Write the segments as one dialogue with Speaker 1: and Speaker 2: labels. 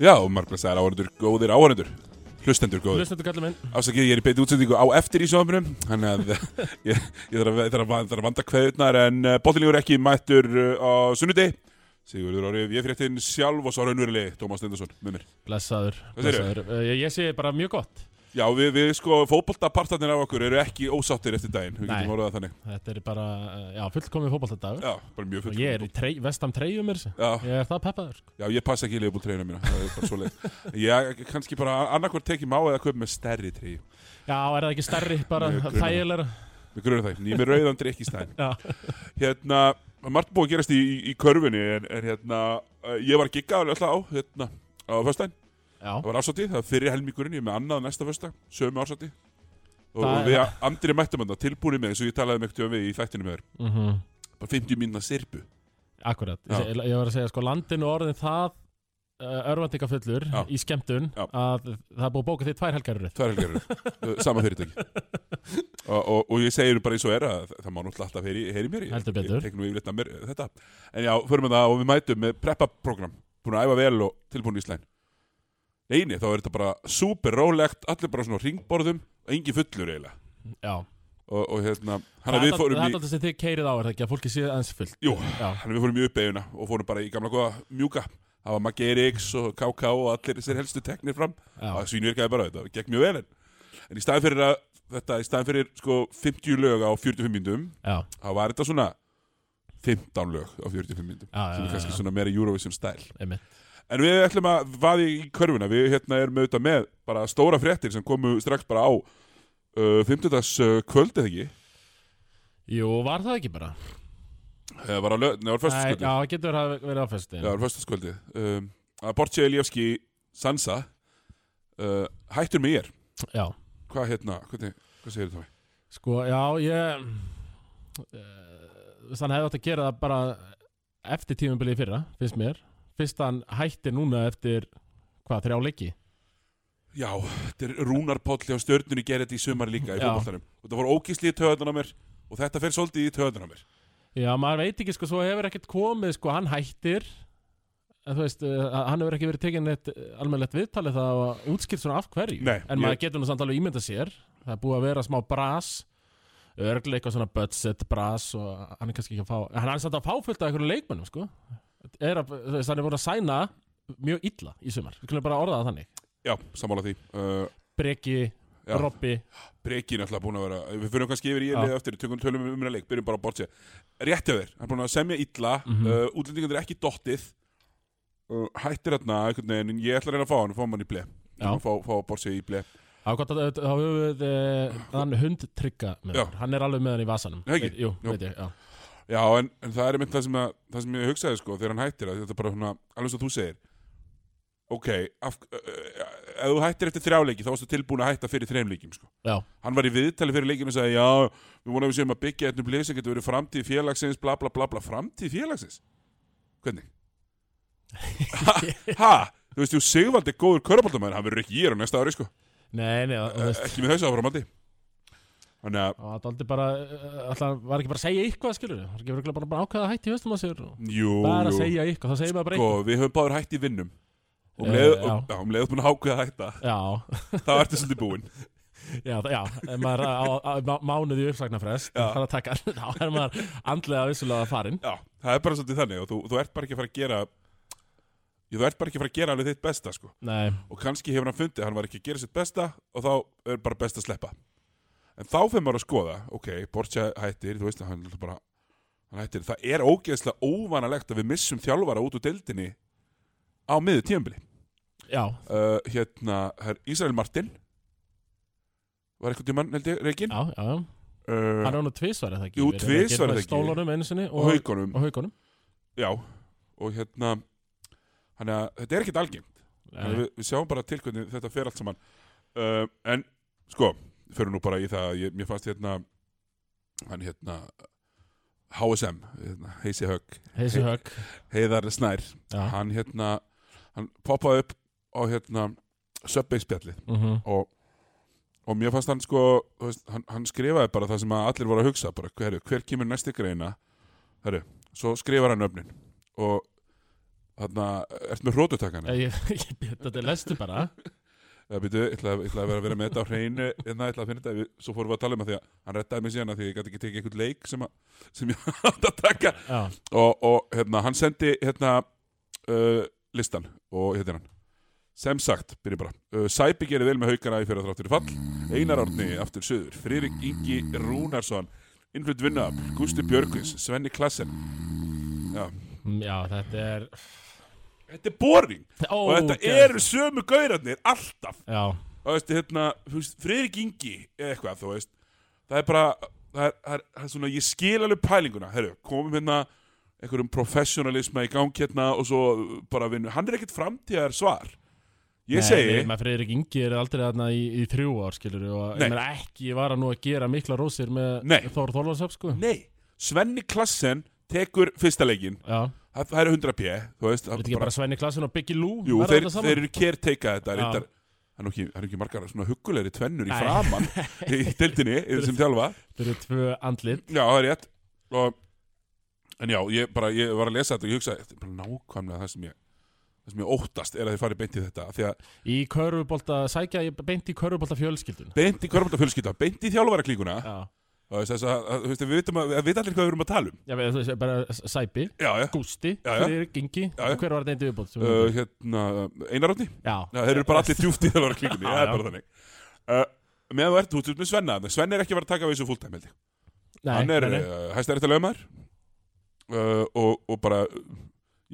Speaker 1: Já, margbless það er áhörendur góðir áhörendur Hlustendur góðir
Speaker 2: Hlustendur kallar minn
Speaker 1: Afsakið, ég er í beiti útsendingu á eftir í sjónvarpinu Þannig að ég, ég þarf að, þarf að, þarf að vanda kveðutnar En uh, bóttilingur ekki mættur uh, á sunnudegi Sigurður Árið, ég fyrir eftir sjálf og svo raunverulegi Tómas Lindarsson með mér
Speaker 2: Blessaður,
Speaker 1: Hvað segirðu?
Speaker 2: blessaður. Uh, ég, ég sé bara mjög gott
Speaker 1: Já, við, við sko, fótboltapartarnir af okkur eru ekki ósáttir eftir daginn Við
Speaker 2: Nei.
Speaker 1: getum orðað það þannig
Speaker 2: Þetta er bara, uh, já, fullkomið fótballtadagur
Speaker 1: Já, bara mjög
Speaker 2: Og
Speaker 1: fullt
Speaker 2: ég er í trey, vestam treyjum er þessi
Speaker 1: Já,
Speaker 2: Ég er það peppaður sko.
Speaker 1: já, ég passa ekki í leifbúl treyna mína Það er bara svo leið Ég kannski bara annarkvort tekið má eða köp með stærri trey
Speaker 2: Já, er það ekki stærri, bara
Speaker 1: Mjög grunað.
Speaker 2: þægilega
Speaker 1: Við grunum það, ég er með rauðan drikk í stæðin
Speaker 2: Já.
Speaker 1: Hérna, margt búið að gerast í, í, í körfunni En, en hérna, eh, ég var að gigga alveg alltaf á Hérna, á föstudaginn
Speaker 2: Já,
Speaker 1: Það var ársatið, það var fyrir helmingurinn Ég er með annað næsta föstudag, sömu ársatið Og, og
Speaker 2: Það-
Speaker 1: við andri mættum hann tilbúinni með eins og ég talaði með við í þættinu með þér
Speaker 2: mhm
Speaker 1: Bara 50 mínna sirpu
Speaker 2: Akkurat,
Speaker 1: Já.
Speaker 2: ég, seg- ég var að segja sko landinu orðin það uh, örvandikafullur
Speaker 1: Já.
Speaker 2: í skemmtun
Speaker 1: Já.
Speaker 2: að það er búið að bóka því tvær helgarur
Speaker 1: Tværhelgarur, sama fyrirtæki og, og, og ég segir bara eins og er að það- það má náttúrulega alltaf heyri, heyri mér Ég-
Speaker 2: Heldur betur.
Speaker 1: Ég tek nú yfirleitt að mér eh, þetta En já, förum við það og við mætum með preppa-program Búin að æfa vel og tilbúin í slæn Eini, þá er þetta bara super rólegt Allir bara svona á ringborðum og engin fullur eiginlega
Speaker 2: Já,
Speaker 1: Og, og hérna, hann
Speaker 2: það
Speaker 1: að
Speaker 2: er
Speaker 1: við
Speaker 2: alltaf-
Speaker 1: fórum
Speaker 2: það er
Speaker 1: í
Speaker 2: alltaf sem þið keirið á er það ekki að fólki sé aðeins fullt
Speaker 1: Jú,
Speaker 2: Já,
Speaker 1: hann að við fórum í uppeiguna Og fórum bara í gamla góða mjúka Það var Maggi Eriks og KK og allir þessir helstu teknir fram
Speaker 2: já,
Speaker 1: að svínvirkaði bara þetta, gekk mjög vel en, en í staðin fyrir að þetta, í staðin fyrir sko 50 lög á 45 myndum
Speaker 2: já,
Speaker 1: þá var þetta svona 15 lög á 45 myndum
Speaker 2: Já, já,
Speaker 1: sem
Speaker 2: já,
Speaker 1: er kannski
Speaker 2: já.
Speaker 1: svona meira Eurovision stæl
Speaker 2: einmitt
Speaker 1: en við ætlum að vaði í körfuna við hérna erum auðvitað með bara stóra fréttir sem komu strax bara á uh, 50. Uh, kvöld eða ekki
Speaker 2: Jú, var það ekki bara?
Speaker 1: það var á lög, neða var
Speaker 2: Nei, já,
Speaker 1: föstaskvöldi
Speaker 2: það getur hafa verið á föstu
Speaker 1: það var föstaskvöldi um, að Bortse Elievski Sansa uh, hættur með ég
Speaker 2: Já,
Speaker 1: hvað hérna, hvernig, hvað segir þetta
Speaker 2: sko, já, ég eh, Þannig hefði átt að gera það bara eftir tímubilið fyrra, finnst mér Fyrst hann hættir núna eftir, hvað, þrjá leiki?
Speaker 1: Já, þetta er Rúnar Páll hjá stjörnunni gerði þetta í sumar líka í
Speaker 2: Já.
Speaker 1: fólkváltanum og þetta voru ógísli í töðunum á mér og þetta fer svolítið í töðunum á mér
Speaker 2: Já, maður veit ekki, sko, svo hefur ekkert komið, sko, hann hættir En þú veist, eh, hann hefur ekki verið tekinn eitt almennlegt viðtalið það og útskipt svona af hverju
Speaker 1: Nei,
Speaker 2: En maður
Speaker 1: ég-
Speaker 2: getur nú samt alveg ímynda sér Það er búið að vera smá bras Örglega eitthvað svona budget bras og hann er kannski ekki að fá Hann er samt að fá fullt af einhverjum leikmönnum, sko er að, þú veist, Hann er búin að sæna mjög illa í sumar Við skulum bara orða það þannig
Speaker 1: Já, sammála því uh,
Speaker 2: Breki,
Speaker 1: já,
Speaker 2: Robby,
Speaker 1: Brekin er alltaf búin að vera Við fyrir kannski yfir í ég
Speaker 2: Já.
Speaker 1: eftir, tökum tölum um minna leik, byrjum bara að bortse Rétt af þér, hann er búin að semja illa mm
Speaker 2: Mhm.
Speaker 1: uh, Útlendingan er ekki dottið uh, Hættir þarna, einhvern veginn en Ég ætla að reyna að fá hann, fá hann í ble
Speaker 2: Já.
Speaker 1: Fá, fá bortse í ble
Speaker 2: þá er gott að þá höfum við eh, hann hund trygga með
Speaker 1: Já.
Speaker 2: hann, hann er alveg með hann í vasanum
Speaker 1: Nei, ekki?
Speaker 2: Veit- Jú,
Speaker 1: Jú.
Speaker 2: veit ég, já
Speaker 1: Já, en, en það er einmitt það sem, að, það sem ég hugsaði sko þegar hann hættir að þetta er bara svona, alveg svo þú segir Ok, af, uh, uh, ef þú hættir eftir þrjáleiki þá varstu tilbúin að hætta fyrir þreim leikjum sko
Speaker 2: Já,
Speaker 1: Hann var í viðtali fyrir leikjum og sagði Já, við vonum að við séum að byggja einnum blið sem getur verið framtíð félagsins, bla bla bla bla Framtíð félagsins? Hvernig? ha, ha? Þú veist, þú Sigvald er góður körbóltamæður, hann verður ekki ég á næsta ári sko
Speaker 2: nei, nei, það- þú
Speaker 1: Eh,
Speaker 2: veist
Speaker 1: Ekki með þessu áframandi Þannig að,
Speaker 2: og það var aldrei bara, alltaf var ekki bara að segja eitthvað skilur, var ekki bara, bara, bara ákveða að hætti höstum að sér, og
Speaker 1: jú,
Speaker 2: bara að
Speaker 1: jú
Speaker 2: segja eitthvað, þá segir maður bara
Speaker 1: sko,
Speaker 2: eitthvað
Speaker 1: við höfum báður hætt í vinnum og um
Speaker 2: Eh,
Speaker 1: leið,
Speaker 2: já.
Speaker 1: uh, já, um leið búin að ákveða að hætta
Speaker 2: Já,
Speaker 1: þá ertu svolítið búinn
Speaker 2: já, það- já, ef maður er á, á, á mánuði uppsagnarfrest,
Speaker 1: Já.
Speaker 2: það er að taka, þá er maður andlega vissulega farinn.
Speaker 1: já, það er bara svolítið þannig og þú, þú ert bara ekki að fara að gera já, þú ert bara ekki að fara að gera alveg þitt besta sko.
Speaker 2: Nei,
Speaker 1: og kannski hefur hann fundið, að hann var ekki að gera sitt besta og þá er bara best að sleppa en þá fyrir maður að skoða, ok, Borja hættir þú veist að hann er bara hann hættir, það er ógeðslega óvanalegt að við missum þjálfara út úr deildinni á miður tíðanbili
Speaker 2: já,
Speaker 1: uh, hérna, það er Ísrael Martin var eitthvað tímann, held ég, reikin
Speaker 2: já, já, já.
Speaker 1: uh,
Speaker 2: hann er nú tvísvar eða ekki?
Speaker 1: Jú,
Speaker 2: Verið- verið
Speaker 1: tvisvar, er það
Speaker 2: með
Speaker 1: ekki?
Speaker 2: Stólunum einu sinni
Speaker 1: og
Speaker 2: og,
Speaker 1: haugunum
Speaker 2: og haugunum.
Speaker 1: Já, og hérna Þannig að þetta er ekkert algengt Þannig að
Speaker 2: Nei,
Speaker 1: við, við sjáum bara til hvernig þetta fer allt saman uh, En sko Förum nú bara í það að ég, Mér fannst hérna Hann hérna HSM, hérna, Heisi Högg
Speaker 2: Eh, Heisi högg,
Speaker 1: Heiðar Snær,
Speaker 2: já,
Speaker 1: hann hérna Hann poppaði upp á hérna Subway spjallið
Speaker 2: mhm,
Speaker 1: og og mér fannst hann sko þú veist, hann, hann skrifaði bara það sem að allir voru að hugsa bara, heru, hver kemur næsti greina heru, svo skrifar hann öfnin og þarna ert með hrótutakana
Speaker 2: Eh, Ég, ég, ég, þetta er lestu bara
Speaker 1: eða býtu, ég ætla, ég ætla að vera að vera með þetta á hreinu en það ætla að finna þetta, við- svo fórum við að tala um að því að hann rettaði mig síðan að því að ég gæti ekki tekið einhvern leik sem, að, sem ég átt að taka
Speaker 2: Já,
Speaker 1: og, og hérna, hann sendi hérna uh, listan og hérna hann sem sagt, byrjum bara uh, Sæpi gerir vel með haugana í fyrir þráttur í fall Einar Árni aftur söður Friðrik Ingi Rúnarsson Innflutt Vinnab, Gústi Björgvins, Svenni Klassen Já,
Speaker 2: Mm, já þetta er
Speaker 1: þetta er boring
Speaker 2: Ó,
Speaker 1: og þetta
Speaker 2: gerð-
Speaker 1: eru sömu gaurarnir alltaf
Speaker 2: Já,
Speaker 1: og veist, hérna, þú veist, Friðrik Ingi eða eitthvað, þú veist það er bara, það er, það er, það er svona ég skil alveg pælinguna, herru, komum hérna einhverjum professionalisma í gang hérna og svo bara vinnu, hann er ekkert framtíðar svar ég
Speaker 2: Nei,
Speaker 1: segi,
Speaker 2: við- maður Friðrik Ingi er aldrei þarna í, í þrjú ár skilur og
Speaker 1: Nei.
Speaker 2: ég meina ekki var að nú að gera mikla rósir með
Speaker 1: Nei.
Speaker 2: Þór Þorlarsöf sko
Speaker 1: nei Svenni Klassen tekur fyrsta leikin
Speaker 2: Já,
Speaker 1: það, það eru 100 p, þú veist það
Speaker 2: þetta ekki bara Svenni Klasin og Biggie Lou
Speaker 1: jú,
Speaker 2: verða
Speaker 1: þeir,
Speaker 2: þetta saman?
Speaker 1: þeir eru kerteika þetta
Speaker 2: Já.
Speaker 1: reyndar, það er nú ekki, það er ekki margar svona huggulegri tvennur í
Speaker 2: Nei.
Speaker 1: framann í deildinni, í þessum þjálfa
Speaker 2: Þeir eru tvö andlit
Speaker 1: Já, það er rétt og, En já, ég, bara, ég var að lesa þetta og ég hugsaði Þetta er bara nákvæmlega það sem ég Það sem ég óttast er að þið farið beint í þetta af Því að
Speaker 2: Í körfubolta, sækja ég beint í körfubolta fjölskyldun
Speaker 1: beint í kvörbólta fjölskylda Beint í þjálfara klíkuna
Speaker 2: Já,
Speaker 1: Þess að, að, þú veist, við vitum að, að við allir hvað við erum að tala um
Speaker 2: já við- þú veist, bara S- Sæpi,
Speaker 1: Já, já
Speaker 2: Gústi,
Speaker 1: Já, já.
Speaker 2: Friðrik Ingi
Speaker 1: Já, já.
Speaker 2: Hver var þetta einn viðbótt? sem við
Speaker 1: uh,
Speaker 2: myndum?
Speaker 1: Hérna, Einarótni
Speaker 2: Já,
Speaker 1: Já, þeir eru bara allir djúft í þjálfara klíkunni
Speaker 2: Já,
Speaker 1: Það er
Speaker 2: já.
Speaker 1: bara þannig uh, Með þú ert út út með Svenna þarna. Svenni er ekki að vera að taka við þessu fulltime held ég.
Speaker 2: Nei,
Speaker 1: Hann er
Speaker 2: nei, nei.
Speaker 1: uh, hæstarétta lögumar uh, og, og bara uh,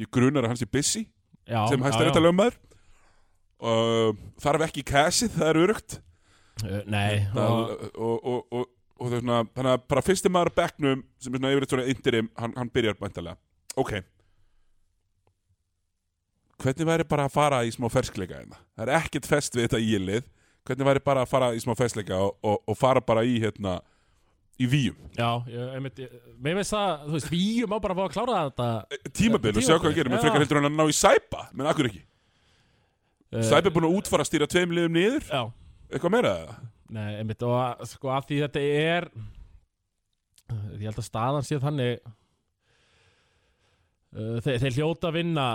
Speaker 1: Ég grunar að hann sé busy
Speaker 2: já,
Speaker 1: sem
Speaker 2: já,
Speaker 1: hæst er
Speaker 2: já.
Speaker 1: þetta lögmaður uh, þarf ekki kæsið, það er örugt
Speaker 2: Uh, Nei,
Speaker 1: og,
Speaker 2: og,
Speaker 1: og, og, og, og það er svona, þannig að bara fyrsti maður á bekknum sem er svona yfirleitt svona indirim hann, hann byrjar bæntalega, ok hvernig væri bara að fara í smá ferskleika hérna? það er ekkert fest við þetta í lið hvernig væri bara að fara í smá ferskleika og, og, og fara bara í hérna í víum,
Speaker 2: já, ég, einmitt, ég, mér finnst það, þú veist, við má bara fá að klára þetta
Speaker 1: tímabil og Eh, sjá hvað hann gerir, menn
Speaker 2: Já.
Speaker 1: frekar heldur hann að ná í sæpa menn akkur ekki,
Speaker 2: uh,
Speaker 1: sæpa er búin að útfara að stýra tveim liðum niður,
Speaker 2: Já,
Speaker 1: eitthvað meira eða?
Speaker 2: nei, einmitt, og að- sko að því þetta er Ég held að staðan sé þannig uh, þeir, þeir hljóta að vinna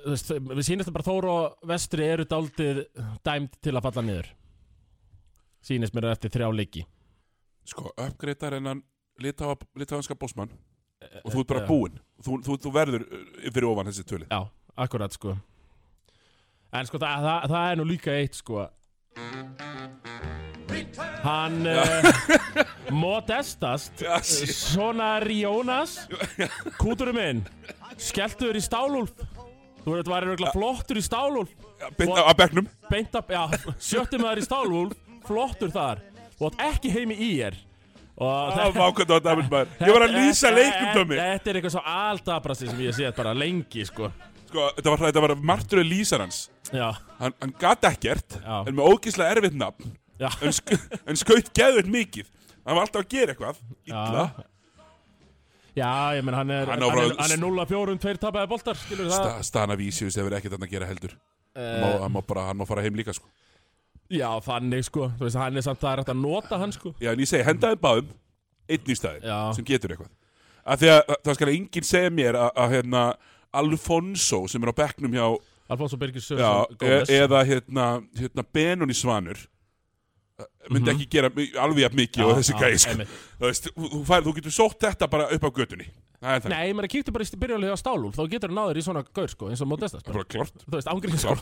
Speaker 2: þú veist, Við sýnist að bara Þór og Vestri eru dálítið dæmd til að falla niður Sýnist mér eftir þrjá leiki
Speaker 1: sko, uppgreitar hennan litáanska bósmann
Speaker 2: E,
Speaker 1: og þú ert bara búinn þú, þú, þú verður uh, fyrir ofan þessi tölið
Speaker 2: Já, akkurat sko En sko, það, það, það er nú líka eitt sko Hann uh, Modestast eh,
Speaker 1: Já, shit.
Speaker 2: Svona Rionas Kúturum minn Skelltur í stálúlf Þú veit, var einhverja flottur í stálúlf
Speaker 1: Ja, beint á- af bekknum
Speaker 2: Beint að, já, sjöttum maður í stálúlf Flottur þar Þú átt ekki heimi í er Og Eh,
Speaker 1: Það var ákveðt á þetta aðeins maður Ah, Ég var að lýsa leikum Tommy
Speaker 2: Þetta er eitthvað svo aldabrasti sem ég sé bara lengi sko
Speaker 1: Sko, þetta var, þetta var martur að lýsa hans
Speaker 2: Já,
Speaker 1: Hann, hann gat ekkert
Speaker 2: Já.
Speaker 1: En með ógíslega erfitt nafn
Speaker 2: já
Speaker 1: En, sk en skaut geðveit mikið Hann var alltaf að gera eitthvað Illa
Speaker 2: Já, ég menn hann er
Speaker 1: Hann
Speaker 2: Hann
Speaker 1: á
Speaker 2: er,
Speaker 1: bara-
Speaker 2: hann er, 0-4 um tveir tapaði boltar Skilur það Eh,
Speaker 1: Sta Stana Vísius hefur ekkert hann að gera heldur hann má, hann, má bara, hann má fara heim líka sko
Speaker 2: Já, þannig sko Þú veist, hann er samt það er hægt að nota hann sko
Speaker 1: Já, en ég segi, hendaði báðum Einn í staðin
Speaker 2: Já.
Speaker 1: Sem getur eitthvað Af því að það- það skal enginn segja mér að, að hérna Alfonso sem er á bekknum hjá
Speaker 2: Alfonso Birgir
Speaker 1: já,
Speaker 2: Sjöfn
Speaker 1: e eða hérna, hérna Benoni Svanur eh,
Speaker 2: Mhm.
Speaker 1: myndi ekki gera mi- alveg jafn mikið og þessi gæði sko. Þú veist, þú, þú, fær- þú getur sótt þetta bara upp á götunni Það er það
Speaker 2: Nei, ég menn kíktu bara í byrjulega á stálúl Þá getur hann náður í svona gaur sko eins og Modestas
Speaker 1: Það er
Speaker 2: bara.
Speaker 1: bara klart
Speaker 2: Þú veist, ángríns sko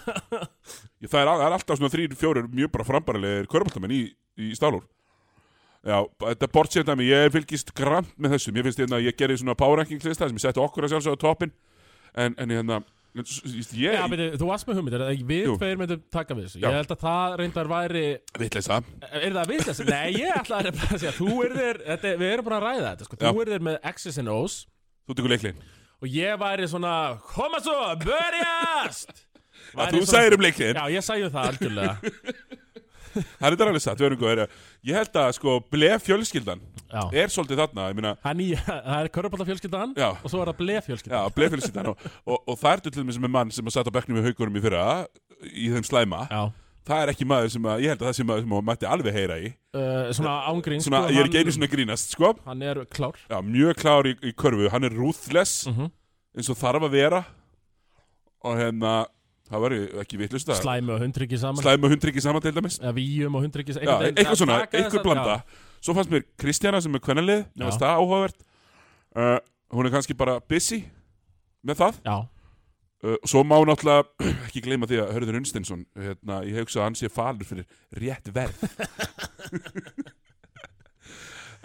Speaker 1: Ég- Það er, al- það er alltaf svona þrýr, fjórir mjög bara frambarilegir körbáltamenn í, í stálur Já, b- þetta bortsett að mig, ég fylgist grann með þessu Mér finnst hérna að ég gerði svona power ranking lista sem ég setti okkur að sjálfsögða á toppin En, en hérna, en s- s- ég,
Speaker 2: Já,
Speaker 1: ég
Speaker 2: beti, þú varst með hugmynd, er það ekki við
Speaker 1: Jú.
Speaker 2: tveir myndum taka við þessu?
Speaker 1: Já.
Speaker 2: Ég held að það reyndar væri,
Speaker 1: vitleisa
Speaker 2: er það við þessu? Nei, ég ætla að bara að segja, þú er þér, þetta, er- við erum búin að ræða þetta, sko,
Speaker 1: Já.
Speaker 2: þú er þér með X's and O's
Speaker 1: Þú tekur leiklinn
Speaker 2: og ég væri svona, koma svo, börjast!
Speaker 1: Að
Speaker 2: Væri
Speaker 1: Þú
Speaker 2: svona-
Speaker 1: segir um leiklinn
Speaker 2: Já, ég sæði það algjörlega
Speaker 1: Það er þetta alveg satt, við erum góðir Ég held að sko blef fjölskyldan
Speaker 2: Já.
Speaker 1: er svolítið þarna, ég meina
Speaker 2: Hann í, það er körpallafjölskyldan
Speaker 1: Já.
Speaker 2: og svo er það blefjölskyldan
Speaker 1: Já, blef fjölskyldan og, og, og það ertu til þessum með mann sem að satt á bekknum í haugurum í fyrra í þeim slæma
Speaker 2: Já,
Speaker 1: það er ekki maður sem að, ég held að það sé maður sem að mætti alveg heyra í
Speaker 2: uh, Svona ángrín
Speaker 1: Svona,
Speaker 2: sko,
Speaker 1: ég er ekki
Speaker 2: hann-
Speaker 1: einu svona að grínast, sko
Speaker 2: Hann er klár
Speaker 1: Já, mjög klár í, í körfu, hann er ruthless
Speaker 2: Mhm.
Speaker 1: eins og þarf að vera og hérna, það verður ekki vitlust að
Speaker 2: Slæmi og hundryggi saman Slæ...
Speaker 1: slæm og hundryggi saman til dæmis
Speaker 2: Eða víum og hundryggi
Speaker 1: Já, eitthvað svona, eitthvað blanda
Speaker 2: já,
Speaker 1: Svo fannst mér Kristjana sem er kvennalið
Speaker 2: Já.
Speaker 1: mér fannst það áhugavert uh, Hún er kannski bara busy með það
Speaker 2: já,
Speaker 1: uh, Svo má náttúrulega ekki gleyma því að Hörður Unstinsson hérna, Ég hugsa að hann sé falur fyrir rétt verð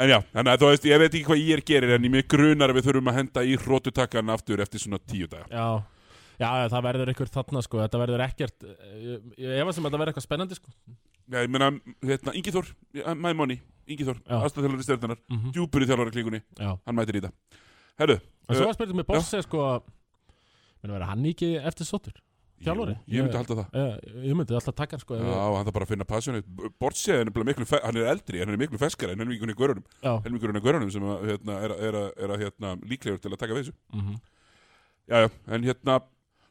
Speaker 1: En já, þannig að þú veist, ég veit ekki hvað ég gerir En ég mig grunar að við þurfum að henda í hrótutakkan aftur eftir svona tíu daga
Speaker 2: já Já, já, það verður ykkur þarna sko, þetta verður ekkert Ég, ég var sem að þetta verður eitthvað spennandi sko
Speaker 1: Já, ég meina, hérna, Ingi Þór, ja, my money Ingi Þór,
Speaker 2: Já.
Speaker 1: aðstæðþjálfari stjörnunar
Speaker 2: mm
Speaker 1: Djúpur í þjálfari klíkunni,
Speaker 2: Já,
Speaker 1: hann mætir í það Herru,
Speaker 2: en svo var spurning með Bosse sko Menni verður hann ekki eftir sottur Þjálfari?
Speaker 1: Jú, Ég myndi halda það
Speaker 2: Ég, ég myndi alltaf taka hann sko ef
Speaker 1: Já,
Speaker 2: ég-
Speaker 1: hann þarf bara að finna passjónu Bortsið er nefnilega miklu, fe- hann er eldri, hann er miklu feskari en helmingurinn í görunum,
Speaker 2: já.
Speaker 1: helmingurinn í görunum sem að, hérna, er, að- er, að- er að, hérna, líklegur til að taka við þessu
Speaker 2: Mm -hmm.
Speaker 1: Já, já, en hérna,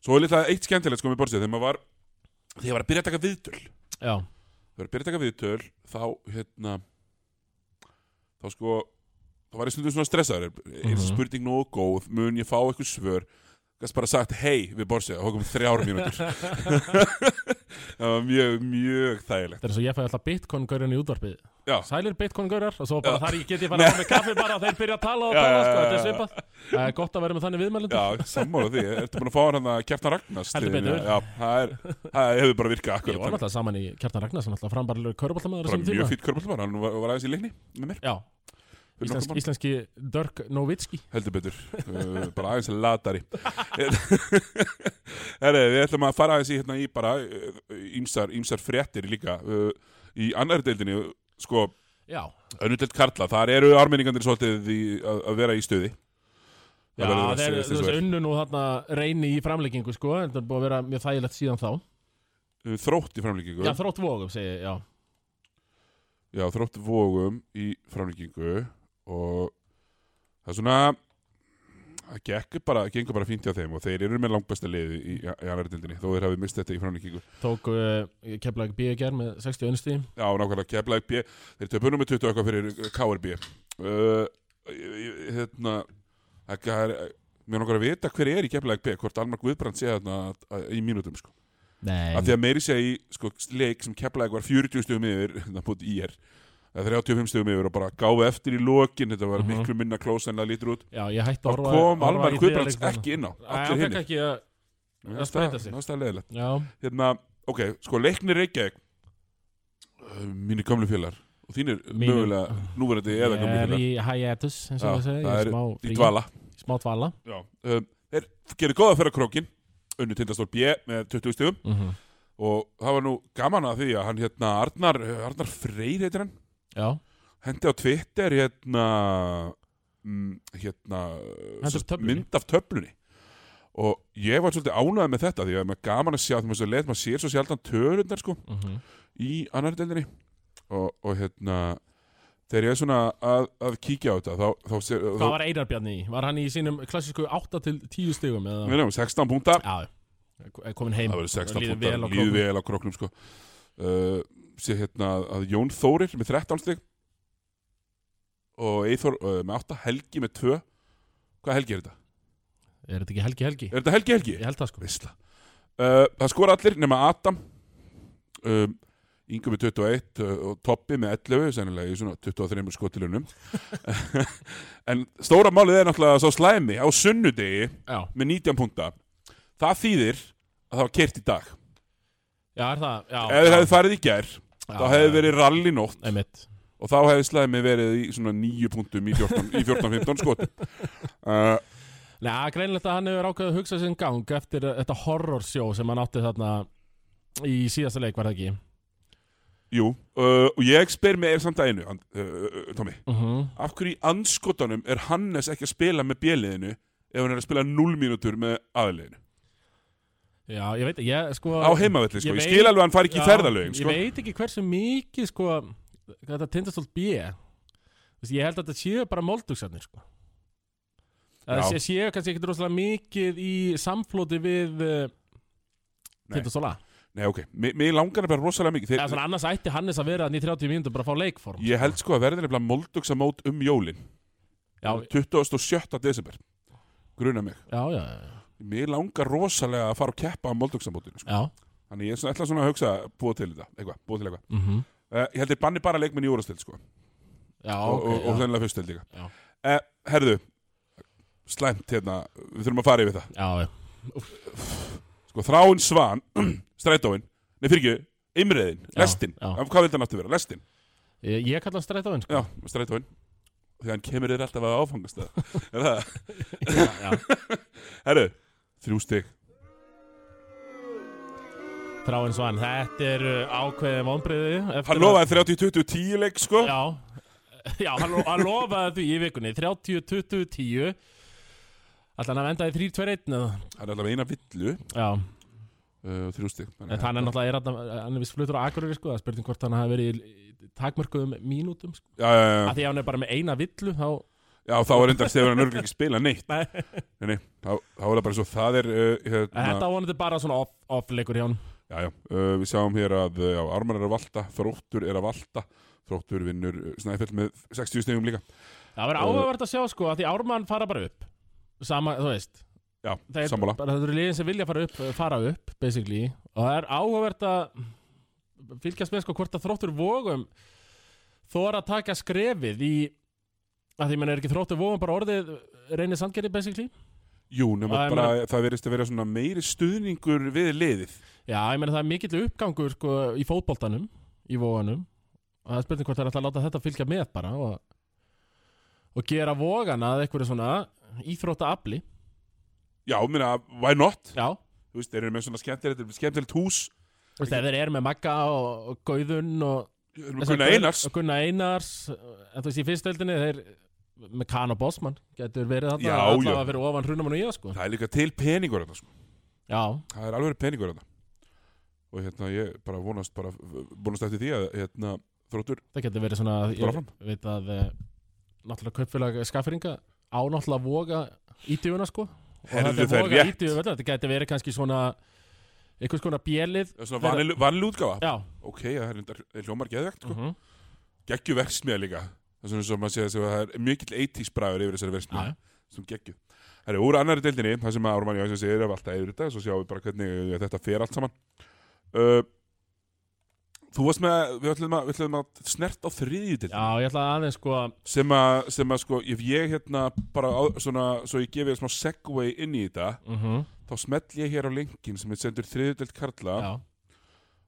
Speaker 1: svo er litla eitt skemmtilegt sko með Bortsið þegar maður var, þegar ég var að byrja að taka viðtöl þegar
Speaker 2: já,
Speaker 1: ég var að byrja að taka viðtöl, þá, hérna þá sko þá var ég stundum svona stressaður er, er
Speaker 2: Mhm.
Speaker 1: spurning nógu góð, mun ég fá eitthvað svör gæst bara sagt hei við Bortsið og hókum þrjár mínútur það var mjög, mjög þægilegt
Speaker 2: þetta er eins og ég fæði alltaf bitcoin-gaurinn í útvarpið
Speaker 1: Já.
Speaker 2: Sælir bitcoin-gaurar og svo bara
Speaker 1: Já.
Speaker 2: þar ég get ég bara á með kaffi bara og þeir byrja að tala og
Speaker 1: Já,
Speaker 2: tala
Speaker 1: já,
Speaker 2: sko,
Speaker 1: já,
Speaker 2: þetta er
Speaker 1: já.
Speaker 2: svipað Það er gott að vera með þannig viðmælandi
Speaker 1: Já, sammála því, ertu búin að fá hann að Kjartan Ragnars
Speaker 2: Heldur
Speaker 1: til þín?
Speaker 2: betur.
Speaker 1: Já, það, er, það hefur bara virkað
Speaker 2: Ég var
Speaker 1: akkurat
Speaker 2: alltaf saman í Kjartan Ragnarsson alltaf frambarlegur körbáltamæður
Speaker 1: Bara mjög fýtt körbáltamar, hann var, var aðeins í leikni með mér
Speaker 2: Já,
Speaker 1: fyrir nokkrum
Speaker 2: íslensk,
Speaker 1: árum.
Speaker 2: íslenski Dirk Nowitzki
Speaker 1: Heldur betur, uh, bara aðeins latari Herri, við ætlum að fara aðeins í, hérna, í bara uh, ýmsar, ýmsar fréttir líka uh, Í annar deildinni, uh, sko,
Speaker 2: Já,
Speaker 1: önnudelt Karla, þar eru armenningandir svolítið í, að, að vera í stuði
Speaker 2: já
Speaker 1: verður að
Speaker 2: það er
Speaker 1: segjast eins og
Speaker 2: þessu
Speaker 1: er.
Speaker 2: unnu nú þarna reyni í framleggingu sko en Þetta er búið að vera mjög þægilegt síðan þá
Speaker 1: Uh, Þrótt í framlíkingu
Speaker 2: Já, þrótt vóðum segi ég, já
Speaker 1: Já, þrótt vógum í framlíkingu og það er svona það gekk bara, gengur bara fínt hjá þeim og þeir eru með langbæsta liði í, í annar dildinni þó þeir hafi mist þetta í framlíkingu
Speaker 2: Tók uh, keflaði B í gær með 60 unnstí
Speaker 1: Já, nákvæmlega, Keflæk B þeir töpunum með 20 eitthvað fyrir eh, KRB uh, ég- ég- hérna það er, mér langar að vita hver er í Keflæk B hvort Almar Guðbrand sé þarna að- að- í mínútum sko.
Speaker 2: Nei
Speaker 1: af því að meiri segja í sko, leik sem Keflæk var 40 stugum yfir þannig að í er 35 stugum yfir og bara gáði eftir í lokin þetta var
Speaker 2: Mhm.
Speaker 1: miklu minna klós en það lítur út
Speaker 2: Já, ég hætti
Speaker 1: þá
Speaker 2: að horfa
Speaker 1: kom
Speaker 2: horfa
Speaker 1: Almar
Speaker 2: í þriðja
Speaker 1: Guðbrands
Speaker 2: leiknum.
Speaker 1: ekki inn á
Speaker 2: Nei, hann
Speaker 1: allir
Speaker 2: fekk
Speaker 1: hinn
Speaker 2: ekki að að spreyta sig.
Speaker 1: það er leðilegt
Speaker 2: Já,
Speaker 1: hérna, ok, sko leiknir Reykjavík uh, mínir gömlu félagar og þínir
Speaker 2: Mínir-
Speaker 1: mögulega núverandi eða
Speaker 2: ég
Speaker 1: gömlu
Speaker 2: er
Speaker 1: félagar
Speaker 2: í hiatus eins
Speaker 1: Já,
Speaker 2: og ég segi,
Speaker 1: það er
Speaker 2: ég er smá
Speaker 1: í
Speaker 2: frí,
Speaker 1: dvala
Speaker 2: smá dvala
Speaker 1: Já, um, þeir gerir góða fyrir krókin unnu tindastól B með 20 stugum og það var nú gaman að því að hann hérna Arnar, Arnar Freyr heitir hann
Speaker 2: Já,
Speaker 1: hendi á Twitter hérna mm, hérna
Speaker 2: Hendi
Speaker 1: sem
Speaker 2: af töflunni.
Speaker 1: mynd af töflunni og ég var svolítið ánægð með þetta því að maður gaman að sjá því maður svo leið maður sér svo sjaldan tölundar sko í annar deildinni og, og hérna þegar ég er svona að, að kíkja á þetta þá, þá, sé- þá,
Speaker 2: Hvað var Einar Bjarni í? Var hann í sínum klassísku 8 til 10 stigum? Eða?
Speaker 1: Við nefnum 16 púnta
Speaker 2: Já, er komin heim
Speaker 1: það verður 16
Speaker 2: Líður
Speaker 1: púnta,
Speaker 2: vel á
Speaker 1: líður
Speaker 2: króknum.
Speaker 1: vel á króknum sko. uh, sé hérna að- að Jón Þórir með 13 stig og Eithor uh, með 8 Helgi með 2 hvað Helgi er þetta?
Speaker 2: Er þetta ekki Helgi Helgi?
Speaker 1: Er þetta Helgi Helgi?
Speaker 2: Ég held það sko
Speaker 1: Vissla uh, Það skora allir nema Adam um, Ingu með 21 uh, og Toppi með 11 sennilega í svona 23 skotilunum En stóra málið er náttúrulega svo slæmi á sunnudegi
Speaker 2: Já,
Speaker 1: með 19 punta Það þýðir að það var kert í dag
Speaker 2: já er það já,
Speaker 1: Ef
Speaker 2: já,
Speaker 1: þið hefði farið í gær
Speaker 2: já,
Speaker 1: þá hefði verið rally nótt
Speaker 2: Einmitt
Speaker 1: og þá hefði slæmi verið í svona 9 punktum í 14 í 14-15 skotum uh,
Speaker 2: Nei, að greinilegt að hann hefur ákveðið að hugsa sinn gang eftir þetta horrorsjó sem hann átti þarna í síðasta leik, var það ekki?
Speaker 1: Jú, uh, og ég spyr mig er samt að einu, And- uh, uh, uh, Tommy
Speaker 2: Uh
Speaker 1: af hverju í anskotanum er Hannes ekki að spila með bjeliðinu ef hann er að spila 0 mínútur með aðliðinu
Speaker 2: Já, ég veit, ég sko
Speaker 1: á heimavelli sko,
Speaker 2: Ég
Speaker 1: ég
Speaker 2: veit-
Speaker 1: skil alveg að hann fari ekki í ferðalögin
Speaker 2: Ég
Speaker 1: sko.
Speaker 2: veit ekki hversu mikið sko, þetta tindastólt B Þú veist, Ég held að þetta séu bara moldugsanir sko. Það
Speaker 1: Já.
Speaker 2: sé, séu kannski ekkert rosalega mikið í samflóti við uh,
Speaker 1: Nei.
Speaker 2: tindastóla
Speaker 1: Nei, ok, mér mér langar það bara rosalega mikið
Speaker 2: Eða
Speaker 1: Þeir,
Speaker 2: svona annars ætti Hannes að vera þarna í 30 mínútur bara að fá leikform
Speaker 1: Ég held sko að verði nefnilega moldugsa mót um jólin
Speaker 2: Já,
Speaker 1: 27. desember Gruna mig
Speaker 2: já, já, já,
Speaker 1: Mér langar rosalega að fara og keppa á moldugsamótinu sko.
Speaker 2: já.
Speaker 1: Þannig ég svona- ætla svona að hugsa að búa til þetta Eitthvað, búa til eitthvað
Speaker 2: Mm
Speaker 1: uh, Ég held ég banni bara leikminn í úrastil sko.
Speaker 2: já
Speaker 1: og,
Speaker 2: ok,
Speaker 1: og, og
Speaker 2: já,
Speaker 1: sennilega fyrst held ég
Speaker 2: Já.
Speaker 1: uh, Herðu Slæmt hérna, við þurfum að fara yfir það
Speaker 2: já, já.
Speaker 1: Sko, þráin svan, strætóin Nei, fyrir ekki, imriðin,
Speaker 2: Já,
Speaker 1: lestin
Speaker 2: já.
Speaker 1: Hvað vildi hann aftur vera, lestin
Speaker 2: Ég, ég kalla hann strætóin sko.
Speaker 1: Já, strætóin Þegar hann kemur þér alltaf að áfangastað Er það?
Speaker 2: já, já.
Speaker 1: Herru, þrjú stig
Speaker 2: Þráin Svan, þetta er uh, ákveðið vonbriði
Speaker 1: Hann lofaði 30-20-10 leik, sko
Speaker 2: Já, já hann, lo- hann lofaði því í vikunni 30, 20, 10 Alltaf hann að venda í 3, 2, 1 eða?
Speaker 1: Hann er allavega eina villu
Speaker 2: Já,
Speaker 1: uh, og þrjú stig Þannig
Speaker 2: en
Speaker 1: að-
Speaker 2: hann er náttúrulega er þarna- hann er vist flutur á Akureyri sko, það er spurning hvort hann hafi verið í í takmörkuðum mínútum sko.
Speaker 1: Já, já, já,
Speaker 2: að því að hann er bara með eina villu þá,
Speaker 1: já, þá er enda Þegar hann örgulega ekki spila neitt
Speaker 2: Nei.
Speaker 1: Nei, nei, þá, þá er það bara svo Það er, uh,
Speaker 2: en
Speaker 1: hérna
Speaker 2: þetta vonandi bara svona off- off-leikur hjá hann
Speaker 1: Já, já, uh, við sjáum hér að uh, já, Armar er að valta, Þróttur er að valta Þróttur vinnur uh, Snæfell með 60 stigum líka
Speaker 2: það verður
Speaker 1: Og-
Speaker 2: áhugavert að sjá sko, að því Ármann fara bara upp sama, þú veist
Speaker 1: Já,
Speaker 2: það er
Speaker 1: sammála
Speaker 2: bara það eru liðin sem vilja fara upp, eh, fara upp basically, og það er áhugavert að fylgjast með sko hvort að þróttur vógum þóra að taka skrefið í að því menn er ekki þróttur vógum bara orðið reynið sandgerði basically
Speaker 1: Jú, nema
Speaker 2: Já, ég
Speaker 1: bara, það verðist að vera svona meiri stuðningur við liðið
Speaker 2: Já, ég meina það er mikill uppgangur sko, í fótboltanum, í vóganum og það er spurning hvort það er alltaf að láta þetta fylgja með bara og, og gera vógana að einhverju svona íþrótta afli
Speaker 1: Já, minna, why not?
Speaker 2: Já,
Speaker 1: Þú veist, þeir eru með svona skemmtilegt, skemmtilegt hús
Speaker 2: þú veist, ef þeir eru með Magga og, og Gauðun og,
Speaker 1: Þeir eru með Gunnar Einars
Speaker 2: og Gunna Einars en þú veist, í fyrstöldinni þeir með Kahn og Bosman getur verið þarna
Speaker 1: Já,
Speaker 2: allavega
Speaker 1: já.
Speaker 2: fyrir ofan hrunamann og ég sko
Speaker 1: Það er líka til peningur þetta sko.
Speaker 2: Já,
Speaker 1: Það er alveg peningur þetta Og hérna ég bara vonast bara vonast eftir því að hérna þróttur
Speaker 2: það getur verið svona
Speaker 1: Bara
Speaker 2: ég
Speaker 1: áfram.
Speaker 2: veit að eh, náttúrulega kaupfélag skafferinga á náttúrulega voga ítífuna sko Og
Speaker 1: herðu
Speaker 2: þetta er
Speaker 1: þær
Speaker 2: voga
Speaker 1: rétt
Speaker 2: ítjöðu veldur, þetta gæti verið kannski svona einhvers konar bjelið
Speaker 1: Það er Svona vanil, vanil útgáfa
Speaker 2: Já,
Speaker 1: Ok, það er reyndar- er hljómar geðvegt sko.
Speaker 2: uh -huh.
Speaker 1: Geggju verksmiða líka Það er svona svo maður sé að það er mikill 80s bræður yfir þessari
Speaker 2: já,
Speaker 1: verksmiða Sem geggju Það er úr annari deildinni Það sem að Ármann Jónsson segir af alltaf yfir þetta Svo sjáum við bara hvernig eh, þetta fer allt saman uh, Þú varst með, við ætlum að, við ætlum að snert á þriðju deildinni
Speaker 2: já, ég ætla aðeins sko að-
Speaker 1: sem að, sem að sko, ef ég hérna bara á, svona, svo ég gefi þér smá segway inn í þetta,
Speaker 2: mhm,
Speaker 1: þá smell ég hér á linkin sem er sendur þriðudelt Karla
Speaker 2: Já,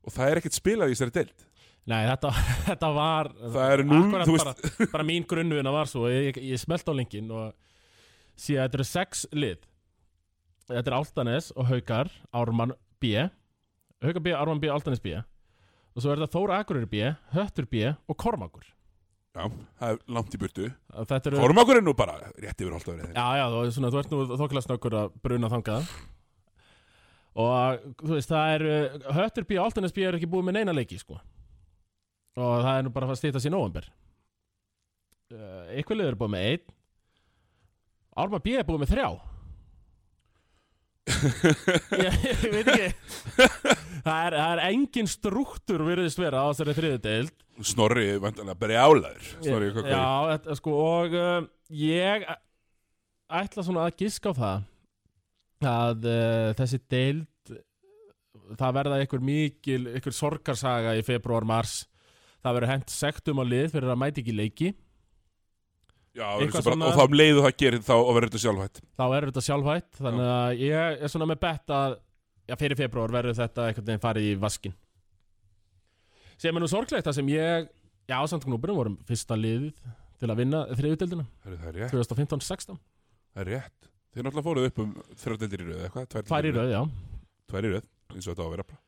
Speaker 1: og það er ekkert spilað í þessari delt.
Speaker 2: nei, þetta, þetta var
Speaker 1: Það er núll,
Speaker 2: akkurat
Speaker 1: þú
Speaker 2: bara, bara mín grunnuna var svo Ég, ég smelt á linkin og sé að þetta eru sex lið Þetta er Áltanes og Haukar, Ármann B Haukar B, Ármann B, Áltanes B Og svo er þetta Þóra Akurur B, Höttur B og Kormakur
Speaker 1: Já, það er langt í burtu.
Speaker 2: Þetta eru
Speaker 1: Kormakur er nú bara rétt yfir holdafrið.
Speaker 2: Já, já, þú, svona, þú ert nú þokkilega snökkur að bruna þangað Og þú veist, það er uh, Höttur B og Altanes B eru ekki búið með neina leiki sko. Og það er nú bara að fara að stýta sér nóvember uh, Ykkur liður er búið með einn Árma B er búið með þrjá ég, ég veit ekki það, er, það er engin struktúr virðist vera á þessari þriðudeild
Speaker 1: Snorri, vantanlega, brjálaður. Snorri, hvað
Speaker 2: Já, þetta, sko, og uh, ég æ- ætla svona að giska á það að uh, þessi deild það verða einhver mikil, einhver sorgarsaga í februar, mars það verður hent sektum á lið fyrir að mæti ekki í leiki
Speaker 1: Já,
Speaker 2: Eitthvað
Speaker 1: svo bara,
Speaker 2: svona-
Speaker 1: og þá um leiðu það gerir þá og verður þetta sjálfhætt.
Speaker 2: þá er þetta sjálfhætt þannig að ég er svona með bett að já, fyrir februar verður þetta einhvern veginn farið í vaskin sem er nú sorglegt það sem ég já, samt knúburum vorum fyrsta liðið til að vinna þriðudeldina
Speaker 1: Herru, Það er rétt,
Speaker 2: 2015-16
Speaker 1: það er rétt. Þeir náttúrulega fóruð upp um þrjóðdeldir í röð, eða eitthvað? tvær
Speaker 2: Tvær í
Speaker 1: deildir
Speaker 2: röð, já
Speaker 1: Tvær í röð, eins og þetta á að vera bara.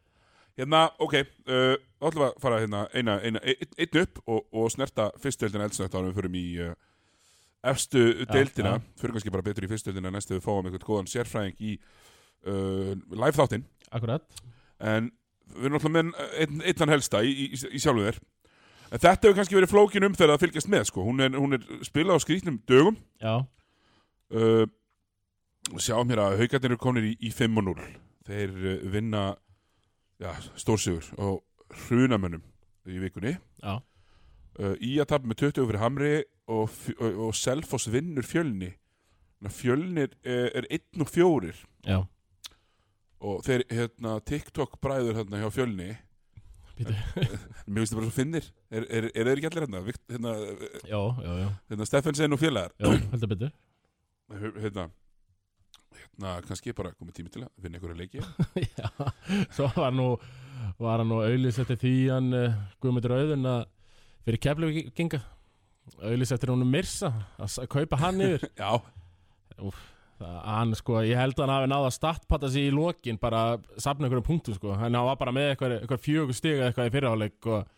Speaker 1: Hérna, ok, uh, þá ætlum við að fara hérna eina, eina, ein, einn upp og, og snerta fyrstöldina eldsnögt árum við förum í uh, efstu deildina,
Speaker 2: já.
Speaker 1: fyrir kannski bara betur í fyrstöldina næst ef við fáum einhvern góðan sérfræðing í uh, live þáttinn,
Speaker 2: Akkurat
Speaker 1: en við erum alltaf með einn, einnan helsta í, í, í sjálfu þér. En þetta hefur kannski verið flókin um þegar að fylgjast með, sko. Hún er, hún er spilað á skrýtnum dögum,
Speaker 2: Já,
Speaker 1: uh, sjáum hér að haugarnir eru komin í, í 5 og 0 þeir uh, vinna já, stórsigur og hrunamönnum í vikunni
Speaker 2: Já,
Speaker 1: uh, Í að tapa með 20 fyrir Hamri og, F- og, og Selfoss vinnur fjölni Þannig að Fjölnir er, er 1 og 4
Speaker 2: já,
Speaker 1: og þeir hérna, TikTok bræður hérna, hjá fjölni
Speaker 2: býtu
Speaker 1: Mér finnst það bara svo finnir Er, er, er þeir ekki allir hérna? Vikt- Hérna,
Speaker 2: Já, já, já,
Speaker 1: hérna Steffensen og félagar
Speaker 2: já, heldur betur
Speaker 1: Hérna Hérna, kannski er bara komið tími til að vinna einhverja leiki
Speaker 2: Já, svo var nú var hann nú auðlýs eftir því hann uh, Guðmundur Auðun að fyrir keflavíkinga auðlýs eftir honum Mirsa að s- að kaupa hann yfir
Speaker 1: Já,
Speaker 2: það, hann sko, ég held að hann hafi náða að startpatta sig í lokin bara að safna einhverjum punktum sko hann hann var bara með eitthvað, eitthvað fjögur stiga eitthvað í fyrirháleik og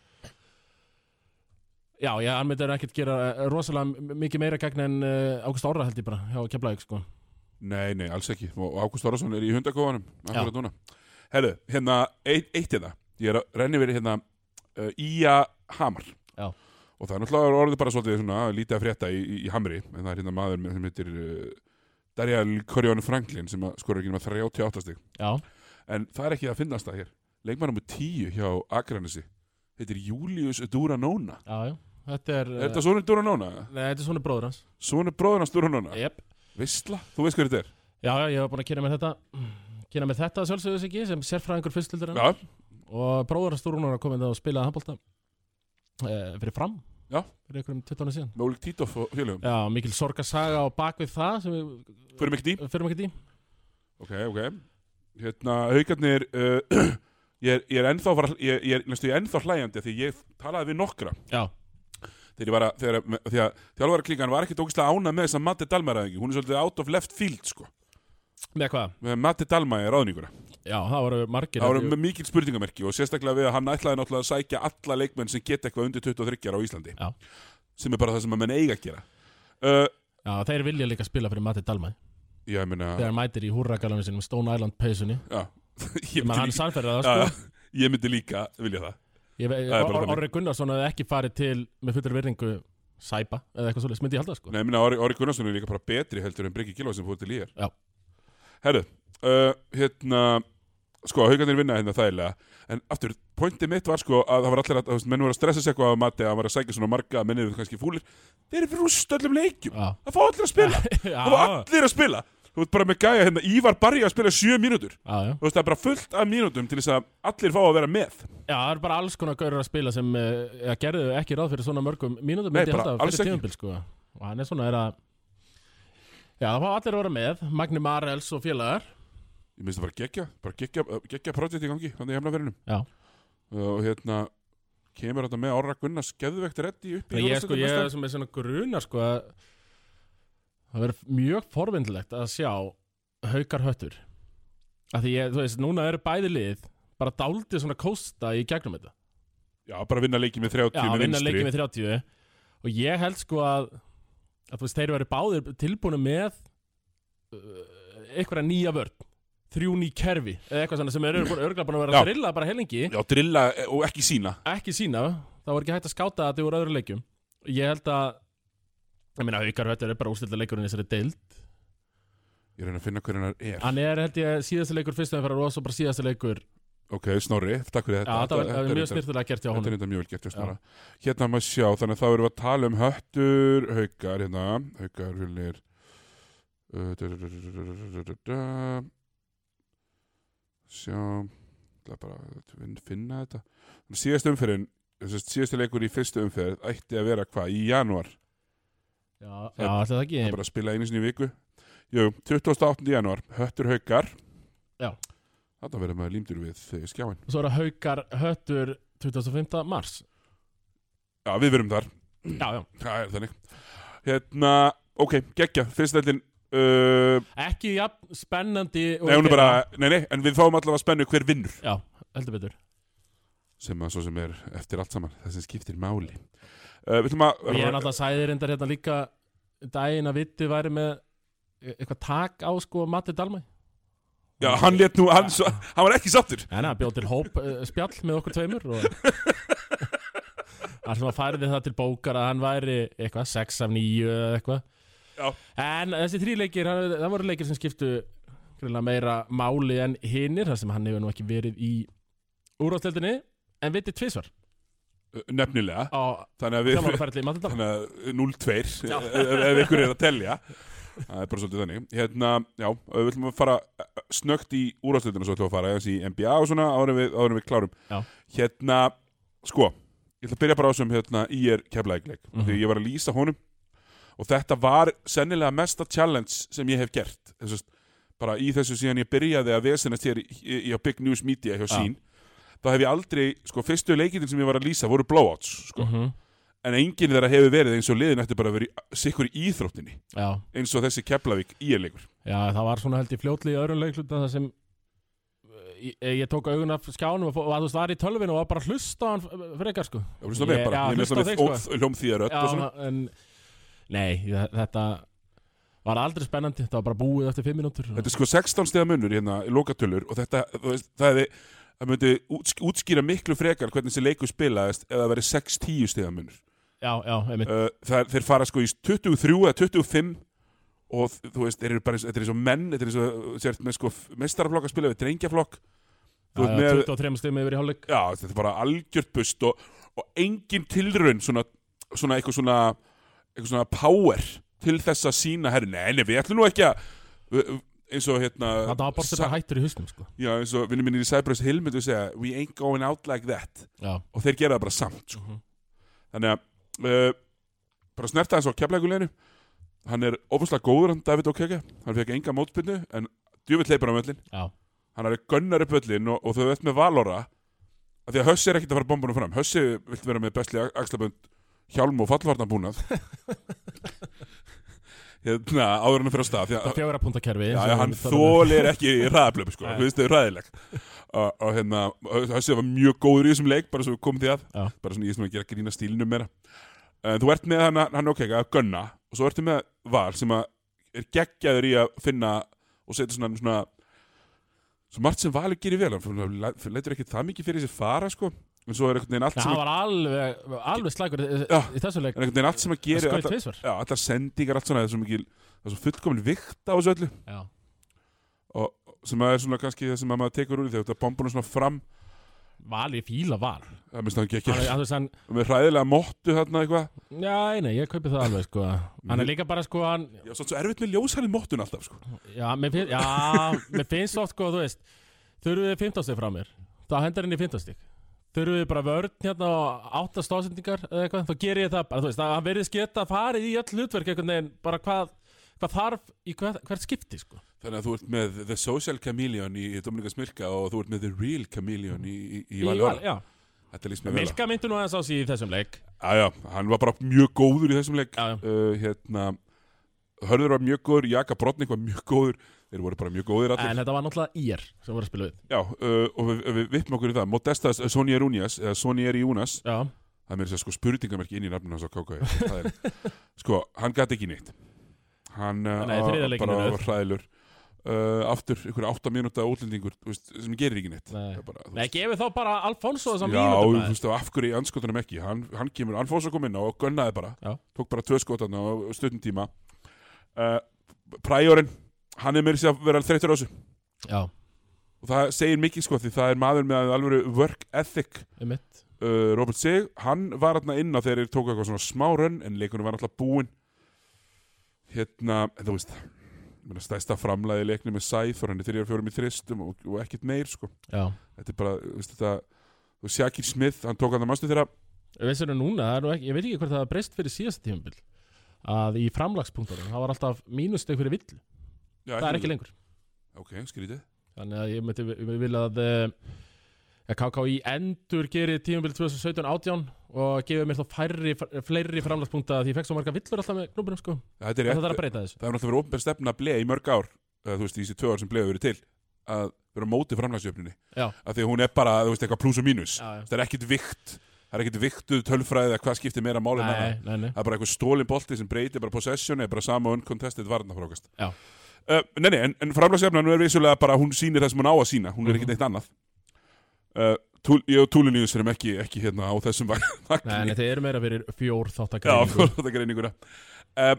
Speaker 2: já, ég, hann myndi ekkert gera eh, rosalega m- mikið meira gegn en uh, Ágúst Orra held ég bara hjá keflavík sko
Speaker 1: nei, nei, alls ekki Og Ágúst Orrason er í hundakofanum
Speaker 2: Já.
Speaker 1: Akkurat núna Herru, hérna, eitt, eitt hérna Ég er að renni verið hérna uh, Ía Hamar
Speaker 2: Já.
Speaker 1: Og það er náttúrulega orðið bara svolítið svona Lítið að frétta í, í, í Hamri En það er hérna maður með- sem heitir uh, Darial Korjón Franklin Sem að skora ekki nema 38 stig
Speaker 2: já,
Speaker 1: En það er ekki að finnast það hér Leikmann nummer 10 hjá Akranesi Heitir Július Duranóna
Speaker 2: já, já, þetta er,
Speaker 1: Er
Speaker 2: eh,
Speaker 1: þetta svona Duranóna?
Speaker 2: Nei, þetta er svona bróður hans
Speaker 1: Svona bróður hans Duranóna
Speaker 2: Jep
Speaker 1: Vistla? Þú veist hver þetta er?
Speaker 2: Já, já, ég var búin að kynna með þetta kynna með þetta að sjálfsögðu sig ekki sem sérfræðingur fyrstildur
Speaker 1: Já,
Speaker 2: og bróður að Stúrúnar að koma inn og spilaði handbólta eh, fyrir fram
Speaker 1: Já.
Speaker 2: fyrir einhverjum 20 ára síðan
Speaker 1: með Ólik Títof og félögum
Speaker 2: Já, mikil sorgasaga á bakvið það sem við
Speaker 1: Fyrir mikið dým
Speaker 2: fyrir ekki í
Speaker 1: Ok, ok Hérna, haugarnir uh, ég, er, ég er ennþá var, ég, ég er, næstu, ég er ennþá hlægjandi Því ég talaði við nokkra
Speaker 2: Já,
Speaker 1: Þegar ég var að, þegar, að- því að þjálfara klíkan var ekki tókislega ána með þess að Matti Dalma ræðingi Hún er svolítið out of left field, sko
Speaker 2: með hvað?
Speaker 1: Með Matti Dalma er ráðninguna
Speaker 2: Já, það voru margir
Speaker 1: Það voru með mikil spurningamerki og sérstaklega við að hann ætlaði náttúrulega að sækja alla leikmenn sem geta eitthvað undir 23 ára á Íslandi
Speaker 2: Já.
Speaker 1: sem er bara það sem að menn eiga að gera uh,
Speaker 2: Já, þeir vilja líka spila fyrir Matti Dalmæ
Speaker 1: Já, ég meina
Speaker 2: þegar hann mætir í húrragalunum sinum Stone Island peysunni
Speaker 1: já, ég,
Speaker 2: sem að
Speaker 1: myndi
Speaker 2: hann
Speaker 1: líka,
Speaker 2: sannferði það
Speaker 1: já,
Speaker 2: sko
Speaker 1: ég myndi líka vilja það
Speaker 2: Ég vei-
Speaker 1: Það er bara
Speaker 2: Or-
Speaker 1: þannig.
Speaker 2: Orri Gunnarsson hefði ekki farið til með fullur virðingu Sæpa eða eitthvað svolítið, myndi ég halda það, sko
Speaker 1: Nei, ég meina Orri, Orri Gunnarsson er líka bara betri heldur en Bryggi Gilva sem fór til í er
Speaker 2: Já.
Speaker 1: Herru, uh, hérna sko, haugarnir vinna hérna þægilega en aftur, pointið mitt var sko að það var allir að, að menn voru að stressa sig eitthvað af mati að hann var að sækja svona marga, mennir við kannski fúlir þeir eru rúst öllum leikjum
Speaker 2: Já,
Speaker 1: það fá allir að spila Það var
Speaker 2: já,
Speaker 1: allir að spila Þú veist bara með gæja hérna Ívar Barri að spila 7 mínútur Þú
Speaker 2: já, já.
Speaker 1: veist það er bara fullt af mínútum til þess að allir fá að vera með
Speaker 2: Já, það er bara alls konar gaurur að spila sem uh, gerðu ekki ráð fyrir svona mörgum mínútur
Speaker 1: Nei,
Speaker 2: myndi ég
Speaker 1: bara
Speaker 2: halda
Speaker 1: alls ekki.
Speaker 2: fyrir tímumbil sko. og hann er svona er að Já, það var allir að vera með Magni Marels og félagar
Speaker 1: Ég minnst það bara geggja Bara geggja, uh, geggja projekt í gangi Þannig í hefnaferinum
Speaker 2: Já.
Speaker 1: Og hérna Kemur þetta með Orra Gunnars Geðvegt reddi upp í
Speaker 2: Þannig ég sko,
Speaker 1: úrvalsdeildina
Speaker 2: ég
Speaker 1: næsta
Speaker 2: er
Speaker 1: árs.
Speaker 2: sem er svona grunar sko að það verður mjög forvindilegt að sjá haukar höttur að því ég, þú veist, núna eru bæði lið bara dáldið svona kósta í gegnum þetta
Speaker 1: Já, bara vinna leiki með 30
Speaker 2: Já,
Speaker 1: með
Speaker 2: vinna
Speaker 1: vinstri
Speaker 2: leikið með 30 og ég held sko að, að þú veist, þeir verið báðir tilbúinu með uh, einhverja nýja vörn þrjú ný kerfi eða eitthvað svona sem er örgulega búin að vera
Speaker 1: Já.
Speaker 2: að drilla bara helengi
Speaker 1: Já, drilla eh, og ekki sína
Speaker 2: ekki sína, það var ekki hægt að skáta þetta úr öðru leikjum ég held að ég meina haukar þetta er bara úrstilda leikurinn í þessari deild
Speaker 1: Ég reyna að finna hver hennar er
Speaker 2: hann er held ég síðasta leikur fyrst en fyrir og svo bara síðasta leikur já,
Speaker 1: Ok, Snorri, takk fyrir þetta
Speaker 2: það var það var mjög
Speaker 1: reyndar-
Speaker 2: snirtilega gert hjá
Speaker 1: Þetta er
Speaker 2: honum
Speaker 1: þetta mjög vel gert hjá Snorra Hérna maður sjá, þannig að þá erum við að tala um höttur Haukar, hérna Haukar, hulnir uh, da, da, da, da, da, da, da, da, da. Sjá Það er bara að fin- finna þetta Þannig að Síðast umferðin sest, Síðasta leikur í fyrstu umferð ætti að vera hvað? Í janúar,
Speaker 2: já, já, ætli það ekki
Speaker 1: það er bara að spila einu sinni í viku Jú, 28. janúar Höttur Haukar
Speaker 2: Já.
Speaker 1: Þetta verður maður límdur við eh, skjáin
Speaker 2: svo eru haukar höttur 25. mars
Speaker 1: Já, við verum þar
Speaker 2: já, já
Speaker 1: Það er þannig Hérna, ok, geggja, fyrstældin uh,
Speaker 2: ekki jafn spennandi og
Speaker 1: Nei, hún
Speaker 2: í
Speaker 1: er bara,
Speaker 2: fyrra.
Speaker 1: nei, nei, en við fáum allavega spennu hver vinnur
Speaker 2: Já, heldur betur
Speaker 1: Sem að svo sem er eftir allt saman, það sem skiptir máli uh, Við ætlum að
Speaker 2: Og ég er náttúrulega sæði reyndar hérna líka daginn að viti væri með e- eitthvað tak á sko Matti Dalmæ
Speaker 1: Já, hann lét nú, hann, svo, hann var ekki sattur
Speaker 2: En hann bjóð til hóp uh, spjall með okkur tveimur og hann sem að færði það til bókar að hann væri eitthvað 6 af 9 eða eitthvað
Speaker 1: Já.
Speaker 2: En þessi þrý leikir, hann, það voru leikir sem skiptu greinlega meira máli en hinir þar sem hann hefur nú ekki verið í úrvasteldinni en vitið tvísvar
Speaker 1: uh, nefnilega
Speaker 2: á
Speaker 1: þannig að við
Speaker 2: þjálfaraferðli Matildar
Speaker 1: þannig að 0-2 ef, ef ykkur er að telja það er bara svolítið þannig hérna, já, við viljum að fara snögt í úrásleitina svo ætlum við að fara eins í NBA og svona áður en við, áður en við klárum
Speaker 2: Já.
Speaker 1: hérna, sko ég ætla að byrja bara á þessum hérna, IR keflækleik mm því ég var að lýsa honum og þetta var sennilega mesta challenge sem ég hef gert þessast, bara í þessu síðan ég byrjaði að vesenast hér í, í, í á Big News Media hjá
Speaker 2: Já.
Speaker 1: sín þá hef ég aldrei, sko, fyrstu leikitin sem ég var að lýsa voru blowouts, sko
Speaker 2: Mhm.
Speaker 1: en enginn þeirra hefur verið eins og liðin eftir bara að vera sikkur í íþróttinni
Speaker 2: Já,
Speaker 1: eins og þessi Keflavík íerleikur
Speaker 2: já, það var svona held ég fljótli í öðrum leikluta þar sem eh, ég, ég tók augun af skjánum og, fó- og að þú veist var í tölvinu og var bara að hlusta á hann eh, frekar sko
Speaker 1: og hlusta með
Speaker 2: Ég-
Speaker 1: bara,
Speaker 2: já,
Speaker 1: ég með
Speaker 2: hlusta á
Speaker 1: það við
Speaker 2: þig, sko.
Speaker 1: óð hljómþýðarödd og svona
Speaker 2: Já, en nei, þe- þetta var aldrei spennandi, þetta var bara búið eftir fimm mínútur
Speaker 1: þetta er sko 16 stegar munur hérna í lokatölur og þetta, þú veist, það hefði það myndi útsk- útskýra miklu frekar hvernig þessi leikur spilaðist ef það verið 6-10 stegar munur
Speaker 2: Já, já, einmitt
Speaker 1: uh, það, þeir fara sko í 23 eða 25 og þ- þú veist, þeir eru bara eins- þetta er eins og menn, þetta er eins og sért með sko mestaraflokk að spila við drengjaflokk þú
Speaker 2: Já,
Speaker 1: veist,
Speaker 2: já,
Speaker 1: með-
Speaker 2: 23 stum yfir í hálfleik
Speaker 1: Já, þetta er bara algjört bust og, og engin tilraun svona, svona eitthvað svona eitthvað svona power til þess að sína herri, nei, nei, við ætlum nú ekki að við- eins og hérna
Speaker 2: Þetta var bara, bara hættur í husnum sko
Speaker 1: já, eins og vinnum mínir í Cypress Hill myndu segja, we ain't going out like that
Speaker 2: Já,
Speaker 1: og þeir gera það bara samt sko.
Speaker 2: Mhm.
Speaker 1: þannig að uh, bara snerta hans á keflækuleginu hann er ofislega góður hann David O'Keke hann fekk enga mótbyrnu en djúvill leipur á möllin
Speaker 2: já,
Speaker 1: hann er gunnar upp öllin og, og þau veit með Valora af því að Hössi er ekkert að fara bombunum fram Hössi vilt vera með bestli axlabönd hjálm og fallvarnabúnað hérna áður hann fyrir að stað því
Speaker 2: það
Speaker 1: að
Speaker 2: fjögur að punta kerfi
Speaker 1: Já, já, hann
Speaker 2: um.
Speaker 1: þólir ekki í ræðablöf sko, þú veist, þau er ræðileg og, og hérna, þessi var mjög góður í þessum leik bara svo við komum því að,
Speaker 2: Já.
Speaker 1: bara svona ég sem að gera grína stílnum meira en þú ert með hann, hann ok, að gunna og svo ertu með val sem að er geggjaður í að finna og setja svona, svona svo margt sem valur gerir vel, hann fyrir- fyrir- leitur ekki það mikið fyrir sér fara, sko en svo er einhvern veginn allt
Speaker 2: Já,
Speaker 1: sem
Speaker 2: hann
Speaker 1: að,
Speaker 2: var alveg, alveg slækur í,
Speaker 1: Já.
Speaker 2: í þessu leik
Speaker 1: er einhvern veginn allt sem að
Speaker 2: Það
Speaker 1: gera
Speaker 2: skoði
Speaker 1: allar,
Speaker 2: tvísvar
Speaker 1: já, allar sendingar, allt svona það er svo mikil, það er svo fullkomin vikt á þessu öllu
Speaker 2: Já,
Speaker 1: og sem að er svona kannski það sem að maður tekur úr í þegar þetta bombunum svona fram
Speaker 2: val ég fíla val
Speaker 1: það minnst það ekki
Speaker 2: Hann er-
Speaker 1: ekki
Speaker 2: hann, þú veist, hann,
Speaker 1: með hræðilega móttu þarna eitthvað
Speaker 2: Já, nei, ég kaupi það alveg sko Hann er líka bara sko hann,
Speaker 1: ég var svolítið svo erfitt með ljósarinn móttun alltaf sko.
Speaker 2: Já, mér finnst, já, mér finnst oft sko, þú veist Þurfið þið 15 stík frá mér Þá hendur henni 15 stík Þurfið þið bara vörn hérna og átta stóðsendingar eða eitthvað, þá ger ég það bara, þú veist, að hann verðist geta farið í öll hlutverk einhvern veginn, bara hvað, hvað þarf í hvert, hvert skipti, sko.
Speaker 1: þannig að þú ert með The Social Chameleon í Dominika Smilka og þú ert með The Real Chameleon í, í, í
Speaker 2: val,
Speaker 1: Valjóra
Speaker 2: já.
Speaker 1: þetta líst mér vel
Speaker 2: Milka myndi nú aðeins á sig í þessum leik.
Speaker 1: að já, hann var bara mjög góður í þessum leik
Speaker 2: Já, já.
Speaker 1: uh, hérna Hörður var mjög góður, Jaka Brotnik var mjög góður þeir voru bara mjög góðir allir
Speaker 2: En þetta var náttúrulega ír sem voru að spila við.
Speaker 1: já, uh, og við, við vippum okkur í það Modestas eh, Sonja Rúnias, eða Sonja Rúnas
Speaker 2: Já,
Speaker 1: það er mér sér sko spurningamerki inn í nafnum hans á KK Það er- sko, hann gæti ekki neitt hann uh,
Speaker 2: Nei, þriðja leikinn
Speaker 1: bara
Speaker 2: er
Speaker 1: var hræðilur uh, aftur, ykkur átta mínúta útlendingur þú veist, sem gerir ekki neitt
Speaker 2: Nei.
Speaker 1: Það er bara, þú
Speaker 2: nei,
Speaker 1: veist-
Speaker 2: gefið þá bara Alfonso þessum
Speaker 1: já, þú
Speaker 2: mínútum.
Speaker 1: veist, og af hverju í anskotunum ekki hann, hann kemur, hann fór svo kom inn á og gunnaði bara
Speaker 2: Já.
Speaker 1: tók bara tvö skotana og stundin tíma uh, Præjórinn hann er mér sér að vera þreyttur á þessu
Speaker 2: Já,
Speaker 1: og það segir mikið sko, því það er maður með alveg work ethic
Speaker 2: um mitt.
Speaker 1: uh, Robert Sig, hann var hérna inn á þegar þeir tóku eitthvað svona smá rönn en leikunum var alltaf búinn hérna, en þú veist minna, stæsta framlæði leiknum með Sæþór hann er þrjár fjórum í þristum og, og ekkert meir sko.
Speaker 2: Já.
Speaker 1: þetta er bara, þú veist þetta og Sjakir Smith, hann tók hann það manstu þeirra
Speaker 2: Við sérum núna, það er nú ekki, ég veit ekki hvort það er breyst fyrir síðasta tímabil að í framlagspunktunum, það var alltaf mínusteg fyrir vill,
Speaker 1: já,
Speaker 2: það er ekki lengur
Speaker 1: ok, skrítið
Speaker 2: þannig að ég myndi við vilja að eh, KKÍ endur gerir tímabil 2017-18 og gefið mér þá færri, fleiri framlagspunkta því ég fekk svo marga villur alltaf með klubunum sko,
Speaker 1: þetta er
Speaker 2: það
Speaker 1: rétt,
Speaker 2: þarf að breyta þessu
Speaker 1: það hefur náttúrulega verið ofnbær stefna að blei í mörg ár uh, þú veist, í þessi tvö ár sem bleið verið til að vera á móti framlæðsjöfninni
Speaker 2: Já,
Speaker 1: af því að hún er bara, þú veist, eitthvað plus og mínus
Speaker 2: já, já,
Speaker 1: það er ekkit vikt, það er ekkit viktuð tölfræði eða hvað skiptir meira máli en annað.
Speaker 2: nei, nei, nei
Speaker 1: það er bara eitthvað stólin bolti sem breytir bara possessioni, bara sama uncontested varnafrákast
Speaker 2: Já.
Speaker 1: uh, Nei, nei, en, en framlagsefnan er vissulega bara hún sýnir það sem hún á að sína, hún er
Speaker 2: Mhm.
Speaker 1: ekkert neitt annað uh, túl, Ég og Túliníus erum ekki, ekki hérna á þessum
Speaker 2: Nei, nei,
Speaker 1: vagn
Speaker 2: þeir eru meira fyrir fjór
Speaker 1: Já,
Speaker 2: þáttakar
Speaker 1: þetta greininguna uh,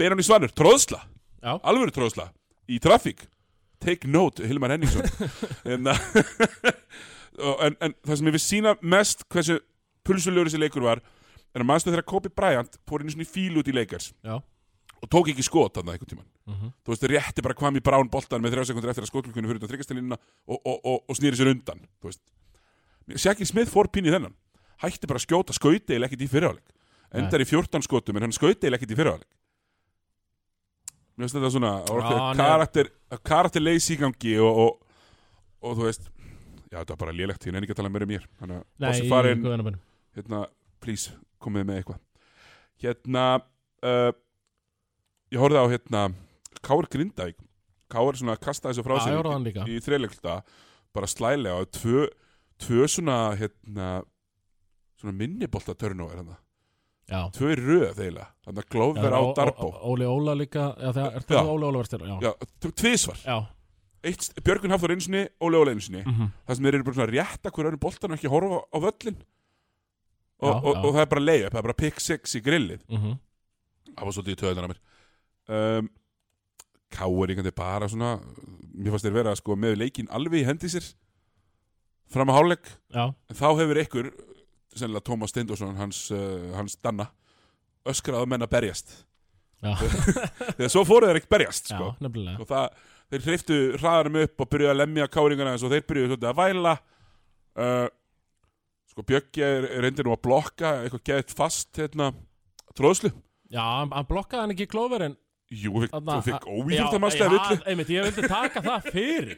Speaker 1: Beinan í svanur, tróðsla
Speaker 2: Já.
Speaker 1: Alvöru tróðsla, í trafík Take note, Hilmar Henningsson en, uh, Hérna. og- en, en það sem ég vil sína mest hversu pulsulegur þessi leikur var er að mannstu þegar Kobe Bryant fór inn í svona fíl út í leikars
Speaker 2: Já.
Speaker 1: og tók ekki skot þarna einhvern tíman
Speaker 2: Mhm.
Speaker 1: þú veist, rétti bara kvami brán boltan með þrjá sekundur eftir að skotlukunni fyrir utan þryggastelínuna og, og, og, og snýri sér undan þú veist Sjaki Smith fór pín í þennan hætti bara að skjóta skauteil ekkit í fyrirháleik endar í 14 skotum en hann skauteil ekkit í fyrirháleik mér finnst þetta svona það var
Speaker 2: Já, hann
Speaker 1: okkur
Speaker 2: er-
Speaker 1: karakter, karakter leysi í gangi og, og, og þú veist já þetta var bara lélegt hérna en ekki að tala meira um mér þannig að
Speaker 2: Nei,
Speaker 1: bossi farin
Speaker 2: góðan að bænum.
Speaker 1: hérna, please, komið með eitthvað hérna uh, ég horfði á hérna Kár Grindavík Kár svona kastaði þessu frá
Speaker 2: Já, ég horfði á hann líka.
Speaker 1: sér í, í þreilegluta, bara slælega og tvö, tvö svona hérna, svona minnibolta törnóver hérna,
Speaker 2: Já.
Speaker 1: tvö í röð eiginlega, þannig að glófver á
Speaker 2: Ó- Ó-
Speaker 1: Darbó
Speaker 2: Óli Óla líka, já það er
Speaker 1: Já.
Speaker 2: það Óli Óla var styrra, já.
Speaker 1: já, t- tvisvar,
Speaker 2: Já.
Speaker 1: Eitt, st- Björgvin Hafþór einsinni Óli Óli einsinni,
Speaker 2: Mhm.
Speaker 1: það sem þeir eru bara svona að rétta hverju öðru boltan og ekki horfa á völlin og,
Speaker 2: Já,
Speaker 1: og,
Speaker 2: já.
Speaker 1: og það er bara leið, það er bara pick six í grillið
Speaker 2: Mhm.
Speaker 1: Það var svolítið í töðunar að mér um, Káur einhvern veginn bara svona Mér fannst þeir vera sko, með leikinn alveg í hendi sér Fram að hálfleik
Speaker 2: Já.
Speaker 1: En þá hefur ykkur Sennilega Tómas Steindorsson, hans, uh, hans Danna Öskraðu menn að berjast
Speaker 2: Já.
Speaker 1: Þegar svo fóru þeir ekki berjast
Speaker 2: Já,
Speaker 1: sko.
Speaker 2: nefnilega.
Speaker 1: Og það, þeir hreyftu hraðarum upp Og byrjuðu að lemja káringana eins og þeir byrjuðu svolítið að væla uh, Sko Bjöggi reyndir nú að blokka Eitthvað geðt fast hérna, Tróðslu
Speaker 2: Já, hann hann blokkaði hann ekki í klóverin.
Speaker 1: Jú, þú fekk-
Speaker 2: Þarna-
Speaker 1: þú fekk
Speaker 2: Já,
Speaker 1: óíþjóttamastlega villu
Speaker 2: Já, einmitt, ég vildi taka það fyrir.